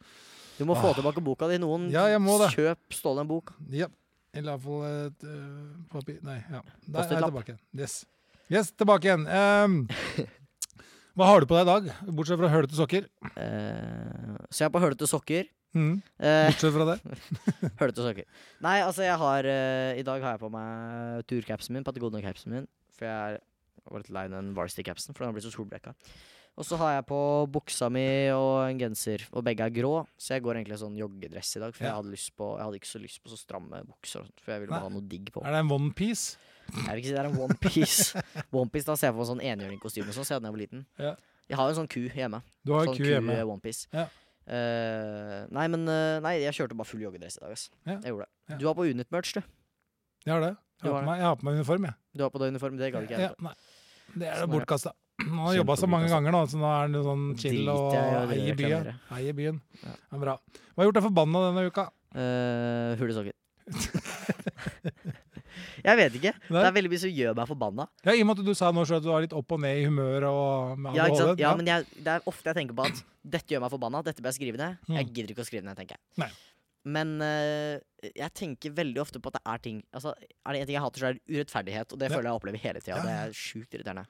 Du må få tilbake boka di. Noen
Ja, jeg må det.
kjøp Ståle en bok.
Ja. Eller iallfall et øh, papir Nei, ja. Der er jeg
Post-it-lapp.
tilbake igjen. Yes. yes, tilbake igjen. Ehm, hva har du på deg i dag, bortsett fra hølete sokker?
Eh, så jeg er på hølete sokker.
Mhm,
Eh,
bortsett fra
<laughs>
det.
hølete sokker. Nei, altså, jeg har eh, I dag har jeg på meg turcapsen min, Patagonia-capsen min. For jeg er jeg var litt lei den Varsity-capsen, for den har blitt så solblekka. Og så har jeg på buksa mi og en genser, og begge er grå. Så jeg går egentlig i sånn joggedress i dag, for
Ja.
jeg, hadde lyst på, jeg hadde ikke så lyst på så stramme bukser. og sånt, For jeg ville
Nei.
bare ha noe digg på.
Er det en onepiece?
Jeg vil ikke si det er en onepiece. Onepiece, da ser jeg for meg sånn enhjørningkostyme og sånn, siden jeg var liten.
Ja.
Jeg har jo en sånn ku hjemme.
<laughs> Du har
sånn
ku hjemme.
onepiece.
Ja.
Eh, nei, men eh, Nei, jeg kjørte bare full joggedress i dag, ass.
Ja.
Jeg gjorde det.
Ja.
Du var på Unit-merch, du.
Jeg har det. Jeg
Du
har
har
på meg, jeg har på meg uniform, jeg.
Du var på deg uniform, det gadd ikke
Ja,
jeg.
nei. Det er
Sånn er det.
bortkasta. Han har jobba så mange
Kjempebortkastet.
ganger nå, så nå er han jo sånn chill
Drit
og
jeg i å
eier byen.
reklamere.
Eier byen.
Ja.
Det er bra. Hva har gjort deg forbanna denne uka?
Uh, Hulesokker.
<laughs>
<laughs> jeg vet ikke.
Nei?
Det er veldig mye som gjør meg forbanna.
Ja, I og med at du sa nå selv at du var litt opp og ned i humør og med
Ja, ikke sant?
ADHD.
ja, men jeg, det er ofte jeg tenker på at dette gjør meg forbanna, dette bør jeg skrive ned. Jeg
Mm.
gidder ikke å skrive ned, tenker jeg.
Nei.
Men eh, jeg tenker veldig ofte på at det er ting Altså, Er det én ting jeg hater, så er det urettferdighet, og det
Ja.
føler jeg opplever hele tida.
Ja,
Det
ja, ja.
er sjukt irriterende.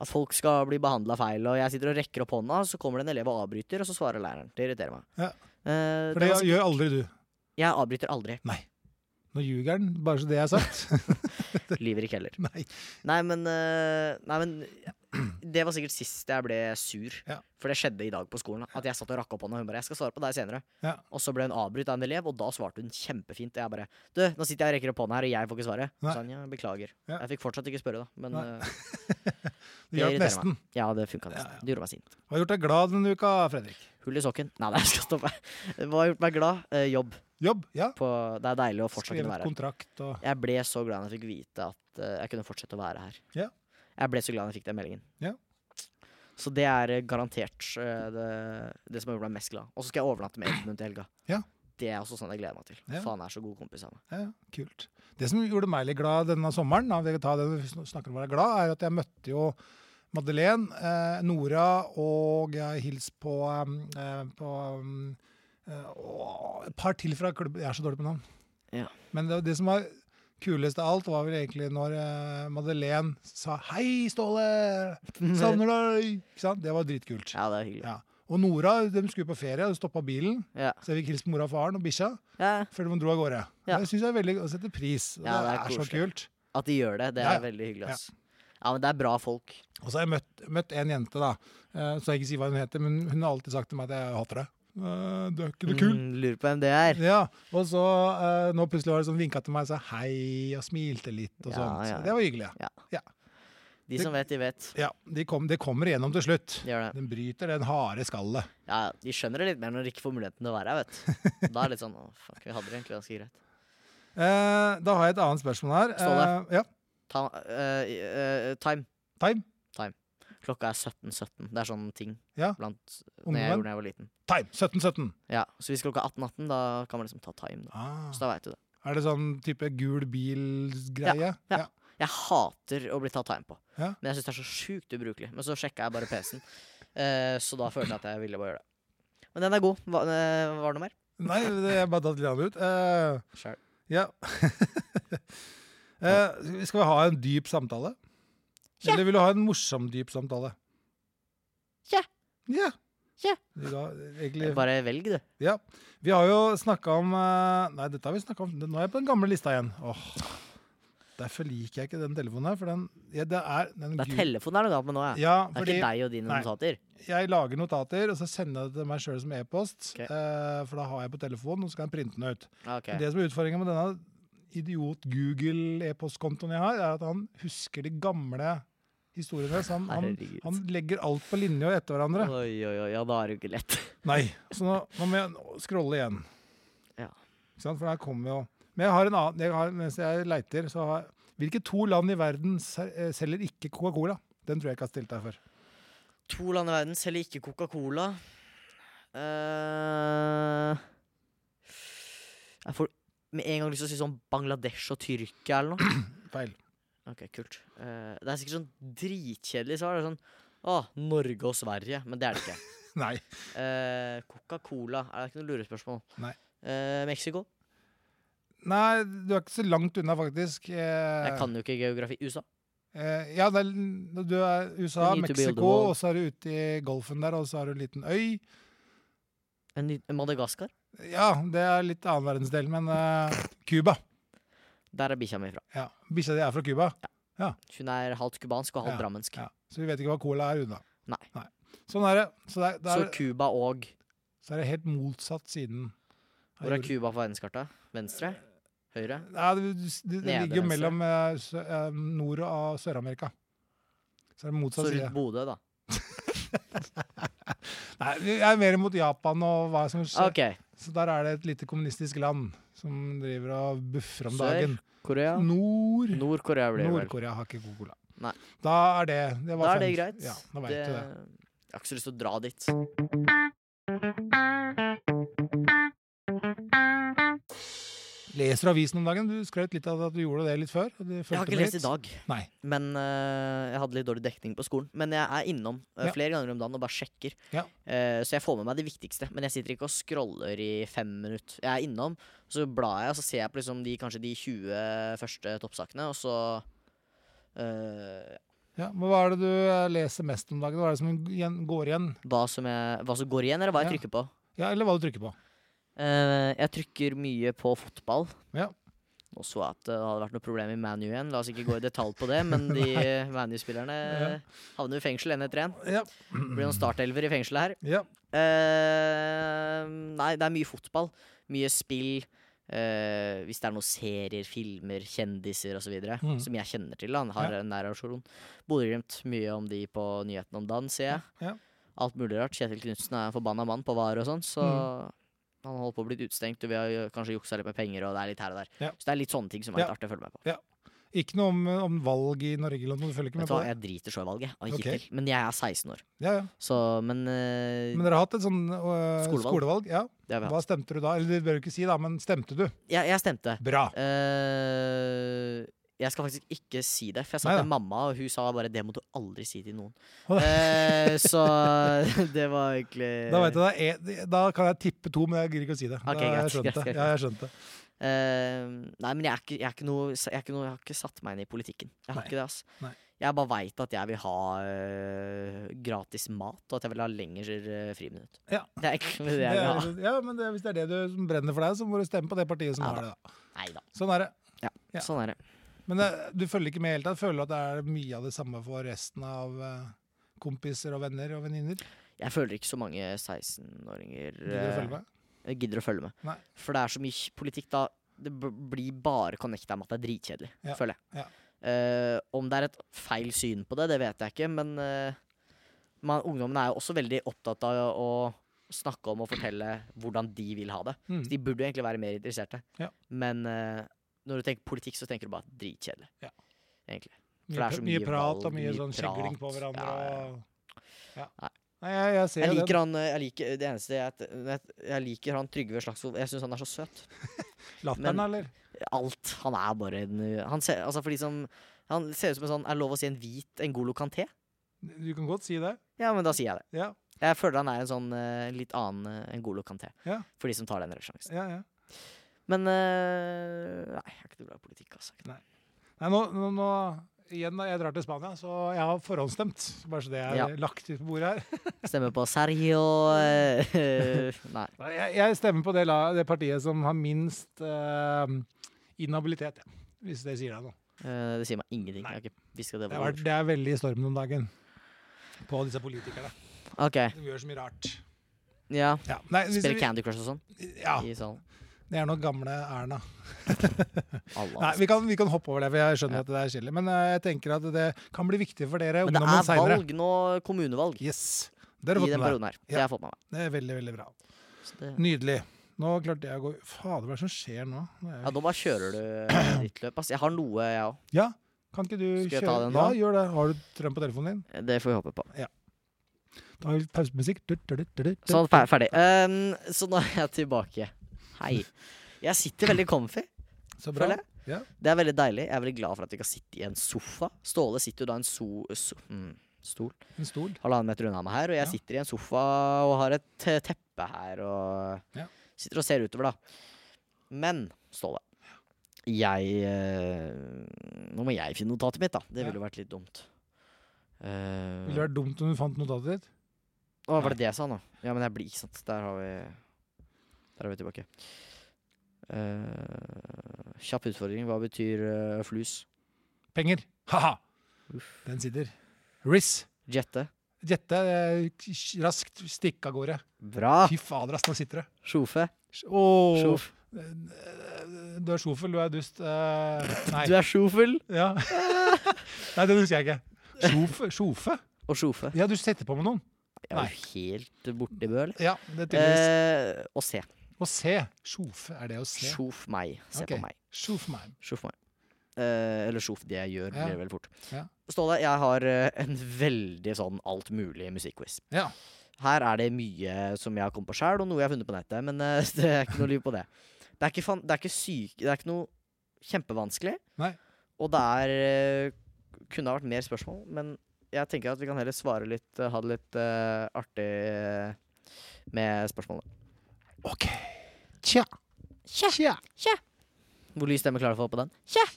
At folk skal bli behandla feil, og jeg sitter og rekker opp hånda, så kommer det en elev og avbryter, og så svarer læreren. Det irriterer meg.
Ja.
Eh,
For
det
det
er ganske-
gjør aldri du.
jeg avbryter aldri.
Nå ljuger han, bare så det er
<laughs>
sagt.
Lyver ikke heller.
Nei.
Nei, men, eh, nei, men Det var sikkert sist jeg ble sur.
Ja.
For det skjedde i dag på skolen. At jeg satt og rakk opp hånda, og hun bare 'Jeg skal svare på deg senere'.
Ja.
Og så ble hun avbrutt av en elev, og da svarte hun kjempefint. Og jeg bare 'Du, nå sitter jeg og rekker opp hånda her, og jeg får ikke svare'. Så
Nei.
sa han, ja, beklager.
Ja.
Jeg fikk fortsatt ikke spørre, da. Men
Nei.
eh,
Det
Det
hjalp
irriterer
nesten.
ja, det funka
Ja,
nesten.
ja.
Det gjorde meg sint.
Hva har gjort deg glad denne uka, Fredrik?
Hull i sokken. Nei, nei, jeg skal stoppe. Hva har gjort meg glad? Eh, jobb.
Jobb? Ja.
På, det er deilig å fortsatt kunne
Skrevet
være her.
kontrakt og
Jeg ble så glad når jeg fikk vite at eh, jeg kunne fortsette å være her.
Ja.
Jeg ble så glad når jeg fikk den meldingen.
Ja.
Så det er eh, garantert eh, det, det som har gjort meg mest glad. Og så skal jeg overnatte med Edmund til helga.
Ja.
Det er også sånn jeg gleder meg til.
Ja.
Faen, jeg er så god kompis av meg.
Ja, kult. Det som gjorde meg litt glad denne sommeren, da, vi tar det når vi sn- snakker om å være glad, er at jeg møtte jo Madeleine, eh, Nora og jeg hilste på, eh, eh, på eh, å, et par til fra klubben. Jeg er så dårlig på navn.
Ja.
Men det, det som var kulest av alt, var vel egentlig når eh, Madeleine sa 'Hei, Ståle! Savner deg!' Ikke sant? Det var dritkult.
Ja, det er hyggelig.
Ja. Og Nora de skulle på ferie, og stoppa bilen,
Ja.
så jeg fikk hilse på mora og faren og bikkja
Ja.
før de dro av gårde.
Ja.
Det syns jeg er veldig å sette pris. og det,
Ja, det er
er så
koselig.
kult.
At de gjør det, det
Ja,
er
ja.
veldig hyggelig.
Ja.
Ass. Ja, men det er bra folk.
Og så har jeg møtt, møtt en jente, da. eh, Så jeg ikke si hva hun heter, men hun har alltid sagt til meg at jeg hater deg. Eh, Du er ikke noe kul.
Mm, lurer på hvem det er.
Ja, og så eh, nå plutselig var det sånn vinka til meg og sa hei og smilte litt og
Ja,
sånt.
ja.
Så det var hyggelig.
De som vet, de vet.
Ja, de kom, Det kommer igjennom til slutt.
De gjør det.
Den bryter den harde skallet.
Ja, de skjønner det litt mer når de ikke får muligheten til å være her, vet
<laughs>
du. Da er det litt sånn Å, fuck, vi hadde det egentlig ganske greit.
Eh, da har jeg et annet spørsmål her.
Ståle.
Eh, ja,
Ta, eh, eh, time.
Time?
Klokka er 17.17. Det er sånn ting
Ja.
blant når jeg
Ungdommen.
gjorde da jeg var liten.
Time! 1717.
Ja, Så hvis klokka er 18.18, da kan man liksom ta time. da
Ah.
Så da vet du det.
Er det sånn type gul bil-greie?
ja. Jeg hater å bli tatt time på,
Ja.
men jeg syns det er så sjukt ubrukelig. Men så sjekka jeg bare PC-en, <laughs> eh, så da følte jeg at jeg ville bare gjøre det. Men den er god. Hva, eh, var det noe mer?
Nei, det jeg bare datt litt annet ut. Eh,
Sjæl.
Ja. <laughs> eh, skal vi ha en dyp samtale?
Ja.
Eller vil du ha en morsom, dyp samtale?
Ja.
Ja.
Ja.
Du ga, egentlig,
Bare velg, du.
ja. Vi har jo snakka om eh, Nei, dette har vi snakka om. Nå er jeg på den gamle lista igjen. Åh. Derfor liker jeg ikke den telefonen her. For den, ja, det er, den
Det er
gul-
telefonen er noe galt med nå, ja.
Ja,
Det er
fordi
ikke deg og dine
Nei.
notater.
jeg lager notater, og så sender jeg det til meg sjøl som e-post.
Ok.
eh, for da har jeg på telefonen, og så kan jeg printe den ut.
Ah, ok.
Men Det som er utfordringen med denne idiot-Google-e-postkontoen jeg har, er at han husker de gamle historiene. Så han, han,
Herregud.
han legger alt på linje og etter hverandre.
Oi, oi, oi. Ja, da er det jo ikke lett.
Nei, så nå, nå må jeg scrolle igjen.
Ja.
Ikke sant? For der kommer jo Men jeg har en annen jeg har, Mens jeg leiter, så har Hvilke to land i verden se- eh, selger ikke Coca-Cola? Den tror jeg ikke jeg har stilt deg for.
To land i verden selger ikke Coca-Cola. Eh, jeg får med en gang lyst til å si sånn Bangladesh og Tyrkia eller noe. <clears throat>
Feil.
Ok, kult. Eh, det er sikkert sånn dritkjedelig svar. Det er sånn Å, Norge og Sverige. Men det er det ikke.
Nei.
Eh, Coca-Cola. Er det ikke noe lurespørsmål?
Nei.
Eh, Mexico.
Nei, du er ikke så langt unna, faktisk. Eh,
Jeg kan jo ikke geografi. USA.
eh, ja, det er, du er USA,
I need to build a
Mexico,
wall.
og så er du ute i Golfen der, og så er du en liten øy.
En ny- Madagaskar.
Ja, det er litt annen verdensdel, men eh, Cuba.
Der er bikkja mi fra.
Ja. Bikkja di er fra Cuba,
Hun er halvt cubansk og halvt
Ja,
drammensk.
ja. så vi vet ikke hva cola er unna.
Nei.
Sånn er det. Så, det er, det
Så
er,
Cuba og
så er det helt motsatt siden. av
Hvor er
jorden.
Cuba på verdenskartet? Venstre? Høyre?
Nei, det, det, det
Nede,
ligger jo
venstre.
mellom eh, sø, eh, Nord- og Sør-Amerika. Så er det
Så
motsatt side.
rundt Bodø, da.
Nei, jeg er mer mot Japan og hva som skjer.
OK.
Så der er det et lite kommunistisk land som driver og buffer om
Sør,
dagen.
Korea?
Nord
Nord-Korea blir det vel.
Nord-Korea har ikke Coca-Cola.
Nei.
Da er det det var
Da er det
fem-
greit.
Ja, da vet
Det-
du det.
Jeg har ikke så lyst til å dra dit.
Leser du avisen om dagen? Du skrøt litt av at du gjorde det litt før. og det
Jeg har
fulgte
ikke
med
lest i
litt.
dag,
Nei.
men eh, jeg hadde litt dårlig dekning på skolen. Men jeg er innom eh,
Ja.
flere ganger om dagen og bare sjekker.
Ja.
Eh, så jeg får med meg det viktigste. Men jeg sitter ikke og scroller i fem minutter. Jeg er innom, så blar jeg, og så ser jeg på liksom de, kanskje de 20 første toppsakene, og så eh,
Ja, men hva er det du eh, leser mest om dagen? Hva er det som igjen- går igjen?
hva, som jeg, hva som går igjen, eller hva
Ja.
jeg trykker på.
Ja, Eller hva du trykker på?
Eh, jeg trykker mye på fotball.
Ja.
Nå så jeg at det hadde vært noe problem i ManU igjen. La oss ikke gå i detalj på det,
<laughs>
men de ManU-spillerne
Ja.
havner jo i fengsel en etter en.
Ja.
Det blir noen startelver i fengselet her.
ja.
Eh, nei, det er mye fotball. Mye spill. eh, hvis det er noen serier, filmer, kjendiser osv. videre
Mm.
som jeg kjenner til. Han har
Ja.
en nær relasjon. Bodø-Glimt, mye om de på nyhetene om dagen, ser jeg.
Ja.
Alt mulig rart. Kjetil Knutsen er en forbanna mann på VAR og sånn, så
Mm.
han holder på å bli utestengt, og vi har jo kanskje juksa litt med penger, og det er litt her og der.
Ja.
Så det er litt sånne ting som er litt
Ja.
artig å følge med på.
Ikke noe om, om valg i Norge eller noe? Du følger ikke
Vet
med
du
på
hva,
det?
jeg driter så i valget, og
Ok.
hittil. Men jeg er 16 år,
Ja, ja.
så Men eh,
Men dere har hatt et sånn øh,
Skolevalg.
skolevalg. ja.
det har vi hatt.
Hva stemte du da? Eller det bør du ikke si, da, men stemte du?
Jeg, jeg stemte.
Bra.
Eh, jeg skal faktisk ikke si det, for jeg sa
Neida.
til mamma, og hun sa bare 'det må du aldri si til
<laughs>
noen'.
Å, da-
Eh, så <laughs> det var egentlig
Da, vet jeg, det er- da kan jeg tippe to, men jeg gidder ikke å si det. da,
Ok,
har jeg
greit,
skjønt
greit,
det.
greit,
Ja, jeg skjønte det.
Eh, Nei, men jeg, er ikke, jeg, er ikke noe, jeg, er ikke noe, jeg har ikke satt meg inn i politikken. Jeg har
Nei.
ikke det, ass.
Nei.
Jeg bare veit at jeg vil ha eh, gratis mat, og at jeg vil ha lengre eh, friminutt.
Ja.
<laughs> Det er egentlig det
det
jeg vil ha.
er, ja, men det, Hvis det er det du, som brenner for deg, så må du stemme på det partiet som
Ja,
har det. da.
Nei da.
Sånn er det. Ja.
Sånn er det.
Men eh, du følger ikke med i det hele tatt? Føler du at det er mye av det samme for resten av eh, kompiser og venner og venninner?
Jeg føler ikke så mange
Gidder
16-åringer
du å
eh,
følge med?
Jeg gidder å følge med.
Nei.
For det er så mye k- politikk da. Det b- blir bare connecta med at det er dritkjedelig,
Ja,
føler jeg.
ja.
Eh, om det er et feil syn på det, det vet jeg ikke, men eh, man, ungdommen er jo også veldig opptatt av å snakke om og fortelle hvordan de vil ha det.
Mm.
Så de burde jo egentlig være mer interesserte.
Ja.
Men eh, når du tenker politikk, så tenker du bare dritkjedelig.
Ja.
Egentlig. for
Mye,
det er så
pr- mye
mye
prat
valg,
og mye
mye
sånn skjegling på
prat.
hverandre
Ja, ja, ja.
og ja.
Nei.
Nei, jeg, jeg ser
Jeg
jo den.
liker han, eh, jeg liker, det eneste er at jeg, jeg liker han Trygve Slagsvold. Jeg syns han er så søt.
Latteren,
men-
eller?
alt. Han er bare en uh, Han ser, altså for de som, han ser ut som en sånn Er lov å si en hvit Ngolo Kanté?
Du kan godt si det.
Ja, men da sier jeg det.
Ja,
Jeg føler han er en sånn uh, litt annen uh, Ngolo Kanté.
Ja.
For de som tar den sjansen.
ja, ja.
Men uh, Nei, jeg er ikke noe glad i politikk, altså. Ikke noe.
Nei, nå, nå, nå igjen da jeg drar til Spania, så jeg har forhåndsstemt. Bare så det er
Ja.
lagt ut på bordet her.
Stemmer på Sergio uh, <laughs> Nei.
Nei, Jeg, jeg stemmer på det, la- det partiet som har minst eh, inhabilitet, ja. hvis det sier deg noe.
uh, det sier meg ingenting. Jeg har ikke hviska det
Det,
på
har vært-
ord.
det er veldig i stormen om dagen på disse politikerne.
OK.
De gjør så mye rart.
Ja.
Ja, nei, hvis vi,
Spiller Candy Crush og sånn
ja
i salen.
det er nok gamle Erna.
Alle,
Nei,
altså.
vi kan, vi kan hoppe over det, for jeg skjønner
Ja.
at det er kjedelig. Men eh, jeg tenker at det kan bli viktig for dere
Men det
ungdommen
er
seinere.
valg nå, kommunevalg, i
Yes. Det har
den
du fått med deg.
perioden her. Det
Ja.
har jeg fått med meg.
Det er veldig, veldig bra.
Så det,
Nydelig. Nå klarte jeg å gå Fader, hva er det som skjer nå? Nå er jeg-
ja, nå bare kjører du eh, ditt løp, ass. Jeg har noe, jeg òg.
Ja, kan ikke du
Skal jeg
kjøre?
ta den
Ja,
nå?
gjør det. Har du strøm på telefonen din?
Det får vi håpe på.
Ja. Da har vi litt pausemusikk. Du, du, du, du, du, du.
Sånn, fer- ferdig. Ehm, så nå er jeg tilbake. Hei. Jeg sitter veldig comfy,
Så bra.
føler jeg.
Ja.
Det er veldig deilig. Jeg er veldig glad for at jeg kan sitte i en sofa. Ståle sitter jo da i en so... so mm, stol.
En stol.
halvannen meter unna meg her, og jeg
Ja.
sitter i en sofa og har et te- teppe her og
Ja.
sitter og ser utover, da. Men, Ståle, jeg eh, Nå må jeg finne notatet mitt, da.
Ja.
Det ville jo vært litt dumt. Eh,
Ville det vært dumt om du fant notatet ditt?
Å, var det det jeg sa nå? Ja, men jeg blir ikke sant. Der har vi Der er vi tilbake. Eh, kjapp utfordring. Hva betyr eh, flus?
Penger. Ha-ha! Den sitter. Riz.
Jette.
Gjette eh, k- raskt, stikk av gårde.
Bra!
Fy fader, ass, nå sitter det.
Sjofe.
Åh, Eh,
Ah. Sjof.
du er sjofel, du er dust. eh, nei.
Du er sjofel
Ja. <laughs> nei, det husker jeg ikke. Sjofe? sjofe?
og sjofe.
Ja, du setter på med noen.
Jeg er jo helt borti bø, eller?
Ja, det er tydeligvis.
Eh, og se.
Å se. Sjofe, er det å se?
Sjof meg. Se
Ok.
på meg.
Sjof meg.
Sjof meg. Eh, eller sjof det jeg gjør,
Ja.
blir veldig fort.
Ja.
Ståle, jeg har eh, en veldig sånn alt mulig musikkquiz.
Ja.
Her er det mye som jeg har kommet på sjæl, og noe jeg har funnet på nettet, men eh, <laughs> det er ikke noe liv på det. Det er ikke, fan, det er ikke syk... Det er ikke noe kjempevanskelig.
Nei.
Og det er eh, Kunne ha vært mer spørsmål, men jeg tenker at vi kan heller svare litt, eh, ha det litt eh, artig eh, med spørsmålene.
OK. Tja.
Tja.
Tja.
Hvor lys stemme klarer du å få på den? <laughs>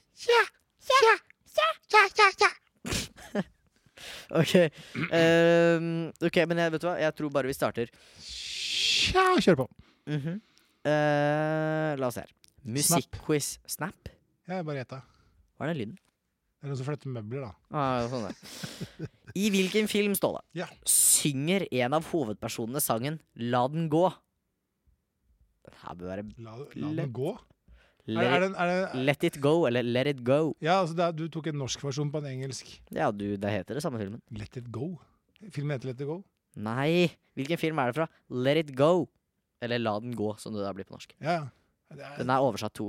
Ok, ehm, ok, men jeg, vet du hva? Jeg tror bare vi starter.
Tja. Kjør på.
Mhm. Eh, la oss se her.
Snap.
Musikkquiz Snap.
Jeg bare gjetta.
Hva er den lyden?
Det er noen som flytter møbler, da.
Ah, sånn der. <laughs> I hvilken film, Ståle,
Ja.
synger en av hovedpersonene sangen 'La den gå'? Det her bør være
La, la den
Lett.
gå. Er,
let,
er det, er det,
let It Go eller Let It Go.
ja, altså det er, du tok en norsk versjon på en engelsk.
Ja, du, det heter det samme filmen.
Let it go. Filmen heter Let it go.
Nei, hvilken film er det fra? Let It Go. Eller La den gå, som det da blir på norsk.
Ja, ja. Det er,
Den er oversatt to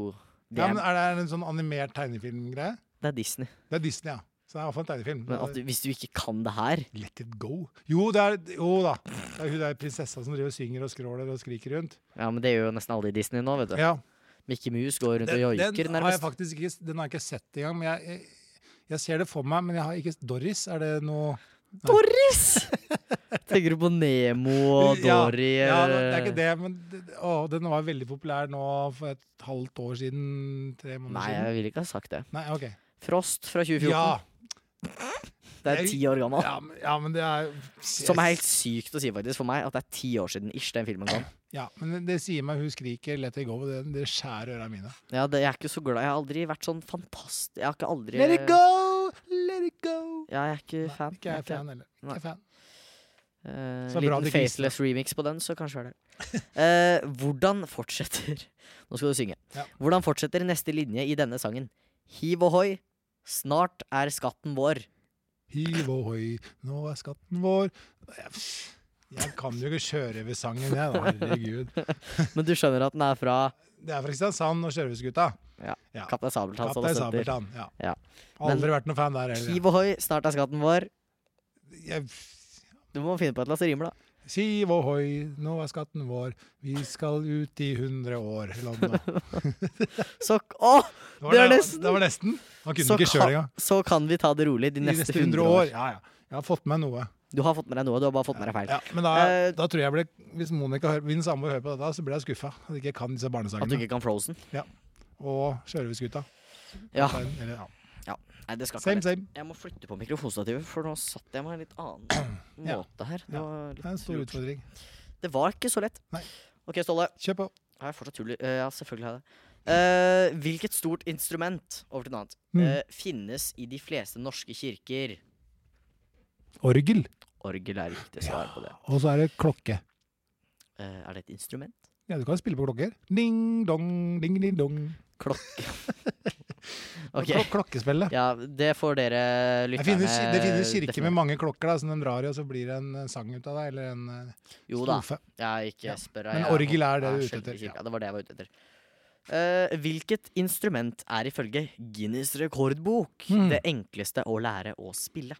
Det
ja, men
er,
er det en sånn animert tegnefilmgreie?
det er Disney.
Det er Disney, ja. Så det er i hvert fall en tegnefilm.
Men at du, hvis du ikke kan det her
Let it go. Jo, det er, jo da. Det er hun der prinsessa som driver og synger og skråler og skriker rundt.
Ja, men det gjør jo nesten alle i Disney nå, vet du.
Ja,
Mickey Mouse går rundt
den,
og joiker,
den har jeg
nærmest.
faktisk ikke, den har jeg ikke sett engang. Men jeg, jeg, jeg ser det for meg, men jeg har ikke Doris, er det noe
Doris!
<laughs>
Tenker du på Nemo og
Ja,
Dory?
Ja, det er
eller-
ikke det, men det- å, den var veldig populær nå for et halvt år siden. Tre måneder
Nei,
siden.
jeg ville ikke ha sagt det.
Nei, ok.
Frost fra 2014.
Ja,
det er
jeg-
ti år gammel.
ja, men- ja, men det er
Som er helt sykt å si faktisk for meg, at det er ti år siden ish den filmen
<clears throat>
kom.
Ja, men det sier meg hun skriker 'let it go', og det, det skjærer øra mine.
Ja, det, jeg er ikke så glad. Jeg har aldri vært sånn fantast... Jeg har ikke aldri
Let it go, let it go.
Ja, jeg er ikke
Nei,
fan.
ikke jeg er
Jeg er
fan heller. Ikke
Nei.
jeg fan.
Eh,
Så bra
liten
det ikke visste det.
faceless remix på den, så kanskje
<laughs>
er det. Eh, hvordan fortsetter <laughs> Nå skal du synge.
Ja.
Hvordan fortsetter neste linje i denne sangen? Hiv ohoi, snart er skatten vår.
Hiv ohoi, nå er skatten vår Jeg- Jeg kan jo ikke sjørøversangen, jeg, da. Herregud.
Men du skjønner at den er fra
Det er fra Kristiansand og Sjørøvergutta. <laughs> Ja.
Kaptein Sabeltann.
Kaptein
som det heter.
Sabeltann. Ja.
Ja. Men-
Aldri vært noen fan der heller.
Hiv ohoi, snart er skatten vår.
Jeg
Du må finne på et eller annet som rimer, da.
Siv ohoi, nå er skatten vår, vi skal ut i 100 år. Eller
<laughs>
noe. Det
Sokk Å!
var
Det er
det-
nesten.
Det var nesten. Han kunne
Så,
ikke sjøl
kan-
engang.
så kan vi ta det rolig de
I
neste 100 år.
Ja, ja. Jeg har fått med noe.
Du har fått med deg noe, du har bare fått med deg feil.
Ja, men da,
Eh,
da tror jeg ble, hvis Monica hører, min samboer hører på dette, så blir jeg skuffa. At jeg ikke kan disse
At du
barnesangene.
ikke kan Frozen.
Og Sjørøverskuta.
Ja.
Eller, ja.
Nei, det skal ikke
Same,
være lett.
same.
Jeg må flytte på mikrofonstativet, for nå satt jeg meg i en litt annen
<clears throat> Ja.
måte her. Det
Ja.
var,
Det er en
litt
stor
rot.
utfordring.
det var ikke så lett.
Nei.
Ok, Ståle.
Kjør på.
Har jeg fortsatt hull i eh, Ja, selvfølgelig har jeg det. Eh, hvilket stort instrument over til noe annet,
Mm.
eh, finnes i de fleste norske kirker?
Orgel.
Orgel er riktig svar på det.
Og så er det klokke.
Eh, er det et instrument?
Ja, du kan spille på klokker. Ding dong, ding ding dong.
Klokke.
<laughs>
ok.
Klok klokkespillet.
Ja, det får dere
Det
lytterne
finnes, det finnes kirker med mange klokker da, som de drar i, og så blir det en eh, sang ut av det. Eller en eh,
Jo da.
strofe.
Jeg ikke
Ja.
spør
Men
jeg
orgel er det
jeg
du er ute
sjelden i
etter,
kirka,
ja.
Det var det jeg var ute etter. Eh, hvilket instrument er ifølge Guinness rekordbok
Hmm.
det enkleste å lære å spille?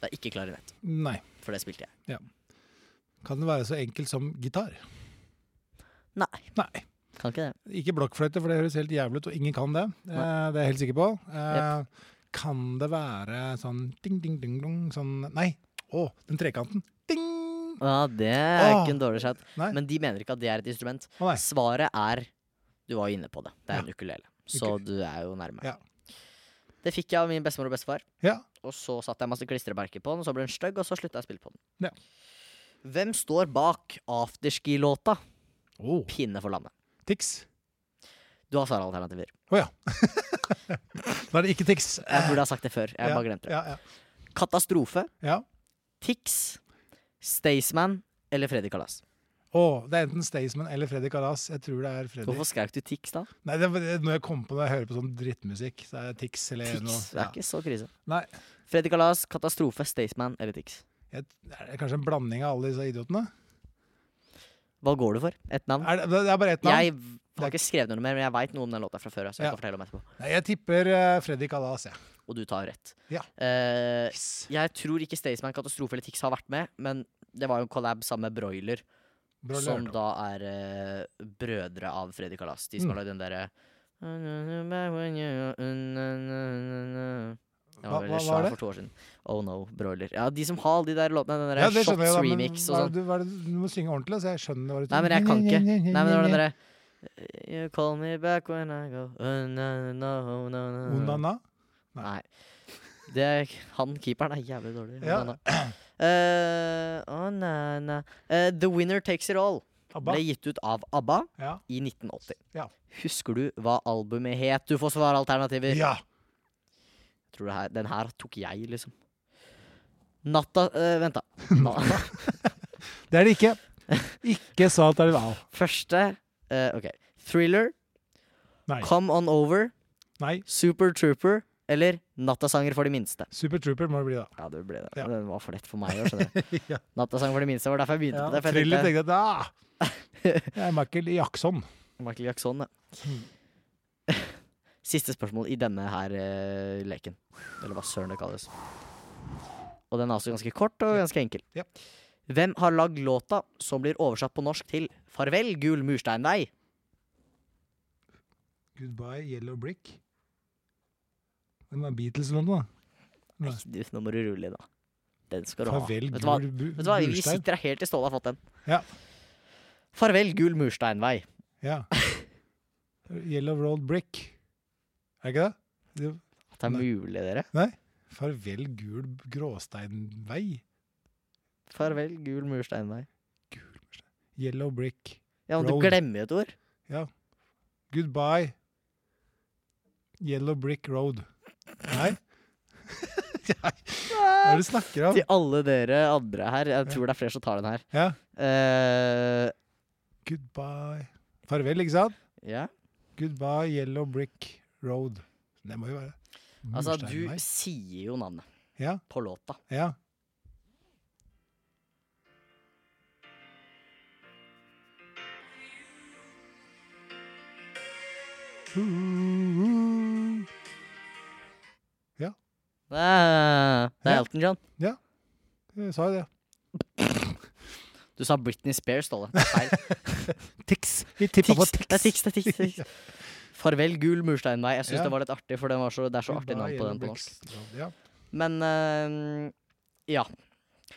Det er ikke klarinett,
Nei.
for det spilte jeg.
Kan det være så enkelt som gitar?
Nei,
Nei.
kan ikke det.
Ikke blokkfløyte, for det høres helt jævlig ut, og ingen kan det. Eh,
Nei.
det er jeg helt sikker på. Eh, kan det være sånn ding, ding, ding, dong, sånn Nei! Å, den trekanten. Ding!
Ja, det er
Åh.
ikke en dårlig chat.
Nei.
Men de mener ikke at det er et instrument.
Å nei.
Svaret er Du var jo inne på det. Det er en ukulele. Så
Ukulele.
du er jo nærme.
Ja.
Det fikk jeg av min bestemor og bestefar.
Ja.
Og så satte jeg masse klistremerker på den, og så ble den stygg, og så slutta jeg å spille på den.
Ja.
Hvem står bak afterski-låta 'Pinne for landet'?
Tix.
Du har svaralternativer.
Da er det ikke Tix.
Jeg burde ha sagt det før. Jeg bare glemte det.
Ja, ja,
Katastrofe,
ja.
Tix, Staysman eller Freddy Kalas?
Å, det er enten Staysman eller Freddy Kalas. Jeg tror det er Freddy.
Hvorfor skrev du Tix, da?
Nei, det, det, når jeg kommer på når jeg hører på sånn drittmusikk, så er det Tix eller noe.
Tix det er
Ja.
ikke så krise.
Nei,
Freddy Kalas, Katastrofe, Staysman eller Tix?
jeg, er det kanskje en blanding av alle disse idiotene?
Hva går du for? Et navn?
Er det, det er bare ett navn.
Jeg v- har ikke skrevet noe mer, men jeg veit noe om den låta fra før. Så jeg
Ja.
kan fortelle om etterpå
Nei, jeg tipper eh, Freddy Kalas, jeg.
Og du tar rett.
Ja. Ja.
Eh,
Yes.
Jeg tror ikke Staysman, Katastrofe eller Tix har vært med, men det var jo en collab sammen med Broiler,
Bra
som
lørdag.
da er eh, brødre av Freddy Kalas. De som
Mm.
har lagd den derre Det
Hva-
var veldig
hva var
svær
det?
for to år siden. Oh no, Broiler. Ja, de som har alle de der låtene, den
Ja,
derre
det skjønner jeg,
Shots
da, men
remix
hva
og
er
sånn.
det Du, hva er det, du må synge ordentlig, så jeg skjønner hva du
Nei, men jeg kan ikke. Nei, men det var den derre You call me back when I go oh, no, no, no, no, no.
Onana?
Nei. Det er, han keeperen er jævlig dårlig.
Ja.
Han er- Eh, å, nei, nei. Eh, The Winner Takes It All
Abba?
ble gitt ut av ABBA
Ja.
i 1980.
Ja.
Husker du hva albumet het? Du får svare alternativer.
ja.
Tror du her, den her tok jeg, liksom. Natta
<laughs>
eh, Vent, da. Na-
Det er det ikke. Ikke salt er det vel.
<laughs> Første eh, OK. Thriller,
Nei.
Come On Over,
Nei.
Super Trooper eller Nattasanger for de minste.
Super Trooper må det bli, da.
Ja, det ble det.
Ja.
Den var for lett for meg i år, skjønner du. <laughs>
Ja.
Nattasanger for de minste var derfor jeg begynte
Ja,
på det. for jeg
thriller tenkte
tenkte-
jeg
<laughs>
da. Jeg er Michael Jackson.
Michael Jackson, ja.
Mm.
<laughs> Siste spørsmål i denne her eh, leken. Eller hva søren det kalles. Og den er altså ganske kort og ganske enkel.
Ja.
Hvem har lagd låta som blir oversatt på norsk til 'Farvel, gul mursteinvei'?
Goodbye Yellow Brick. Det var Beatles eller noe, da. Nei.
Du, nå må du rulle, da. Den skal du
Farvel,
ha. Vet du hva?
gul bu-
Vet du hva? Vi
burstein.
sitter her helt til Ståle har fått den.
Ja.
Farvel, gul mursteinvei.
Ja. <laughs> Yellow Road Brick. Er det ikke det? det?
Det er
Nei.
mulig, dere.
Farvel, gul gråsteinvei.
Farvel, gul mursteinvei.
Gul burstein. Yellow Brick.
Ja, men du
Road.
glemmer et ord.
Goodbye Yellow Brick Road. Nei? Nei, Hva er det du snakker
<laughs>
om?
Til alle dere andre her, jeg tror det er flere som tar den her.
Ja.
Eh,
Goodbye Farvel, ikke sant?
ja.
Goodbye Yellow Brick Road. Det må jo være
Altså,
Mursteinvei.
du sier jo navnet
Ja,
på låta.
ja. Uh-huh.
Det er, det er
Ja.
Elton John.
Jeg sa jo det.
Du sa Britney Spears, Ståle. Det er
<laughs>
feil.
Tix. Vi tippa på
Tix.
Tix.
Det er Tix, det er Tix. det er
<laughs>
Tix. Farvel, gul mursteinvei. Jeg syns
Ja.
det var litt artig, for den var så, det er så artig
Goodbye
navn på
Yellow
den på
Brick
norsk.
Road, Ja.
Men eh, ja.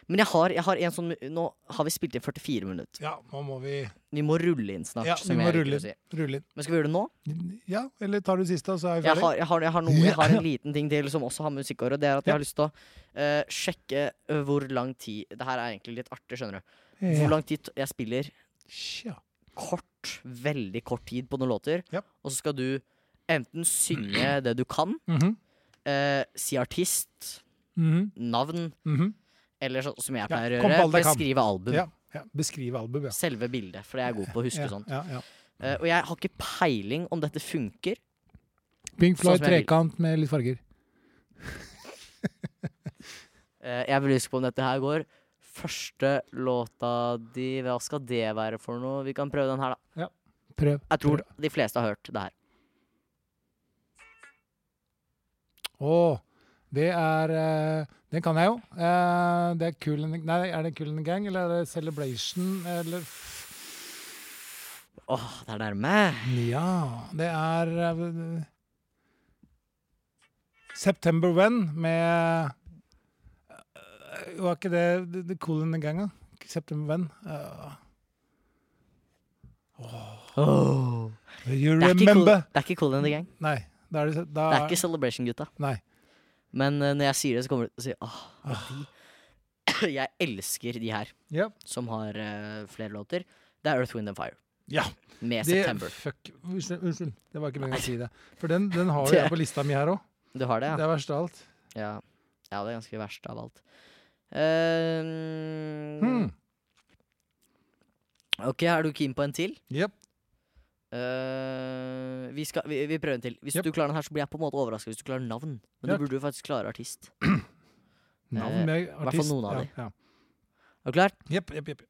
Men jeg har, jeg har en sånn Nå har vi spilt inn 44 minutter.
ja, nå må vi
Vi må rulle inn snart.
Ja, vi
som
må
jeg liker
rulle
å si.
rulle
Men skal vi gjøre det nå?
inn. Ja, eller tar du siste, og så er vi
Jeg
ferdig?
har, jeg, har, jeg, har noe, jeg har en liten ting til som også har med musikk å gjøre. Det er at jeg har lyst til å eh, sjekke eh, hvor lang tid Det her er egentlig litt artig, skjønner du. Hvor lang tid jeg spiller
Tja.
kort, veldig kort tid på noen låter,
Ja.
og så skal du enten synge
<clears throat>
det du kan,
Mhm,
eh, si artist,
mhm,
navn,
mhm.
eller sånn som jeg
Ja,
pleier å
kom på
gjøre,
alt jeg kan.
beskrive album.
Ja, ja. Beskrive album, ja.
Selve bildet, for jeg er god på å huske
ja,
sånt.
ja, ja.
Eh, og jeg har ikke peiling om dette funker.
Pink
Sånn
Floyd
som jeg vil.
trekant med litt farger.
Eh, jeg vil huske på om dette her går. Første låta di, hva skal det være for noe? Vi kan prøve den her, da.
Prøv.
Jeg tror de fleste har hørt det her.
Å, det er eh, Den kan jeg jo. Eh, det er Cool and, nei, er det Cool and the Gang eller er det Celebration eller
Åh, det er nærme.
Ja, det er eh, September When med eh, Var ikke det The, the Cool and the Gang, da? September When. eh, you
Det, er ikke cool,
remember
det er ikke cool in the gang.
Nei. Da er det, da,
Det er ikke Celebration, gutta.
Nei.
Men eh, når jeg sier det, så kommer du til å si åh, det er de. <coughs> Jeg elsker de her,
Ja.
som har eh, flere låter. Det er Earth, Wind and Fire
ja.
med
Det,
September.
fuck. Unnskyld, unnskyld. Det var ikke meningen å si det. For den, den
<laughs>
har jo jeg på lista mi her òg.
Du har det,
Det
ja?
er verst av alt.
Ja, ja det er ganske verst av alt. Eh,
Hmm.
Ok, er du keen på en til?
Jep.
Eh, vi, skal, vi, vi prøver en til. Hvis
Yep.
du klarer den her, så blir jeg på en måte overraska hvis du klarer navn. Men
Ja.
du burde jo faktisk klare artist.
Navn med artist.
hvert fall noen av de.
ja, ja.
Er du klar?
Jepp, jepp, jepp.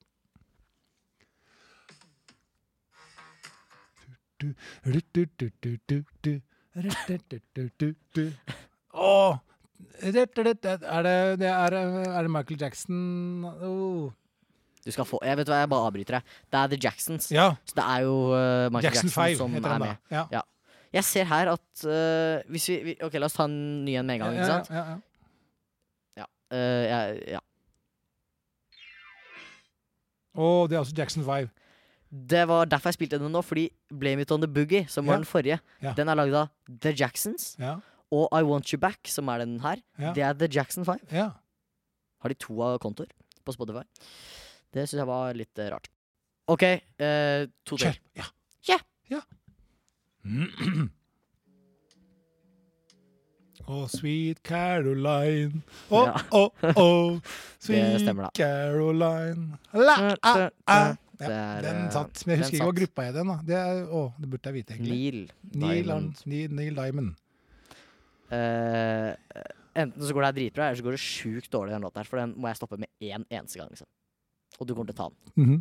Du, du, du, du, du, du, du. Ru, du, du, du, du, du. Åh! Ru, du, du, du. Er det, det er, er det Michael Jackson oh.
Du skal få Jeg vet hva, jeg bare avbryter deg. Det er The Jacksons.
Ja.
Så det er jo eh, Michael
Jackson
Jackson,
5
som
heter
er
han da.
med.
Ja.
Jeg ser her at eh, hvis vi, vi Ok, la oss ta en ny en med en gang,
Ja,
ikke sant?
Ja, ja, ja.
Eh, jeg- ja.
Åh, det er også Jackson 5.
Det var derfor jeg spilte den nå, fordi Blame It On The Boogie, som
Ja.
var den forrige,
Ja.
den er lagd av The Jacksons.
Ja.
Og I Want You Back, som er den her,
Ja.
det er The Jackson 5.
ja.
Har de to av kontoer på Spotify? Det syns jeg var litt eh, rart. OK, eh, to til.
Kjør. Ja.
Ja.
ja. <clears throat> Åh, Sweet Caroline. Åh,
Ja.
åh,
<laughs>
åh. Sweet
stemmer da.
Caroline. La, a, a. Ah, Ja,
Det er,
den
eh,
satt. Men jeg husker ikke
den
hva
satt.
gruppa er i den. da. Det, er, å, det burde jeg vite, egentlig.
Neil.
Neil,
Diamond.
Diamond. Neil, Neil Diamond.
Eh, enten så går det her dritbra, eller så går det sjukt dårlig, den låten her. For den må jeg stoppe med én eneste gang, liksom. Og du kommer til å ta den. <laughs>
Mhm.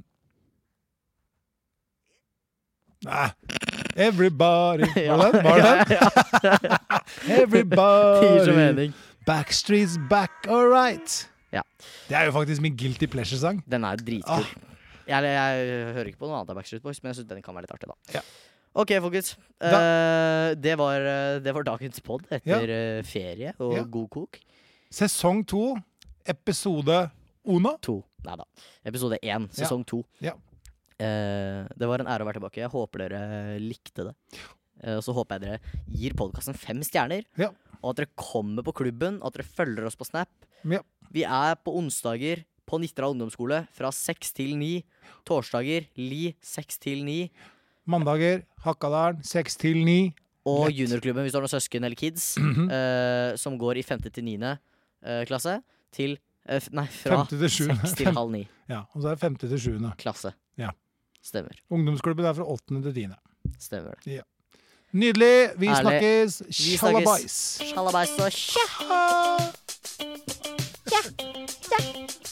Nei.
<laughs>
Everybody Var det den? Var det den?
ja, ja. <laughs> Det gir så
<laughs> Everybody
mening.
Backstreet's back, all right.
Ja.
Det er jo faktisk min guilty pleasure-sang.
Den er jo
Ah.
dritkul. Jeg, jeg, hører ikke på noe annet av Backstreet Boys, men jeg syns den kan være litt artig, da.
Ja.
OK, folkens. Eh, det, var, eh, det var dagens pod
Ja.
etter eh, ferie og
Ja.
god kok.
Sesong to, episode Ona.
To. Nei da. Episode én, sesong to.
Ja.
Eh, det var en ære å være tilbake. Jeg håper dere likte det. Eh, Og så håper jeg dere gir podkasten fem stjerner.
Ja.
Og at dere kommer på klubben, at dere følger oss på Snap.
Ja.
Vi er på onsdager på Nitra ungdomsskole fra seks til ni. Torsdager Li seks til ni.
Mandager, Hakadalen, seks til ni.
Og
Lett.
juniorklubben, hvis du har noen søsken eller kids,
Mhm.
eh, som går i femte til niende eh, klasse, til eh, f- Nei, fra
Femte til sjuende.
seks til
Fem-
halv ni
Ja, og så er det femte til sjuende.
klasse.
Ja.
Stemmer.
Ungdomsklubben er fra åttende til tiende.
Stemmer det.
Nydelig. Vi
Ærlig.
snakkes.
Vi snakkes.
Tjallabais.
Sjalabais og tja!
Ha!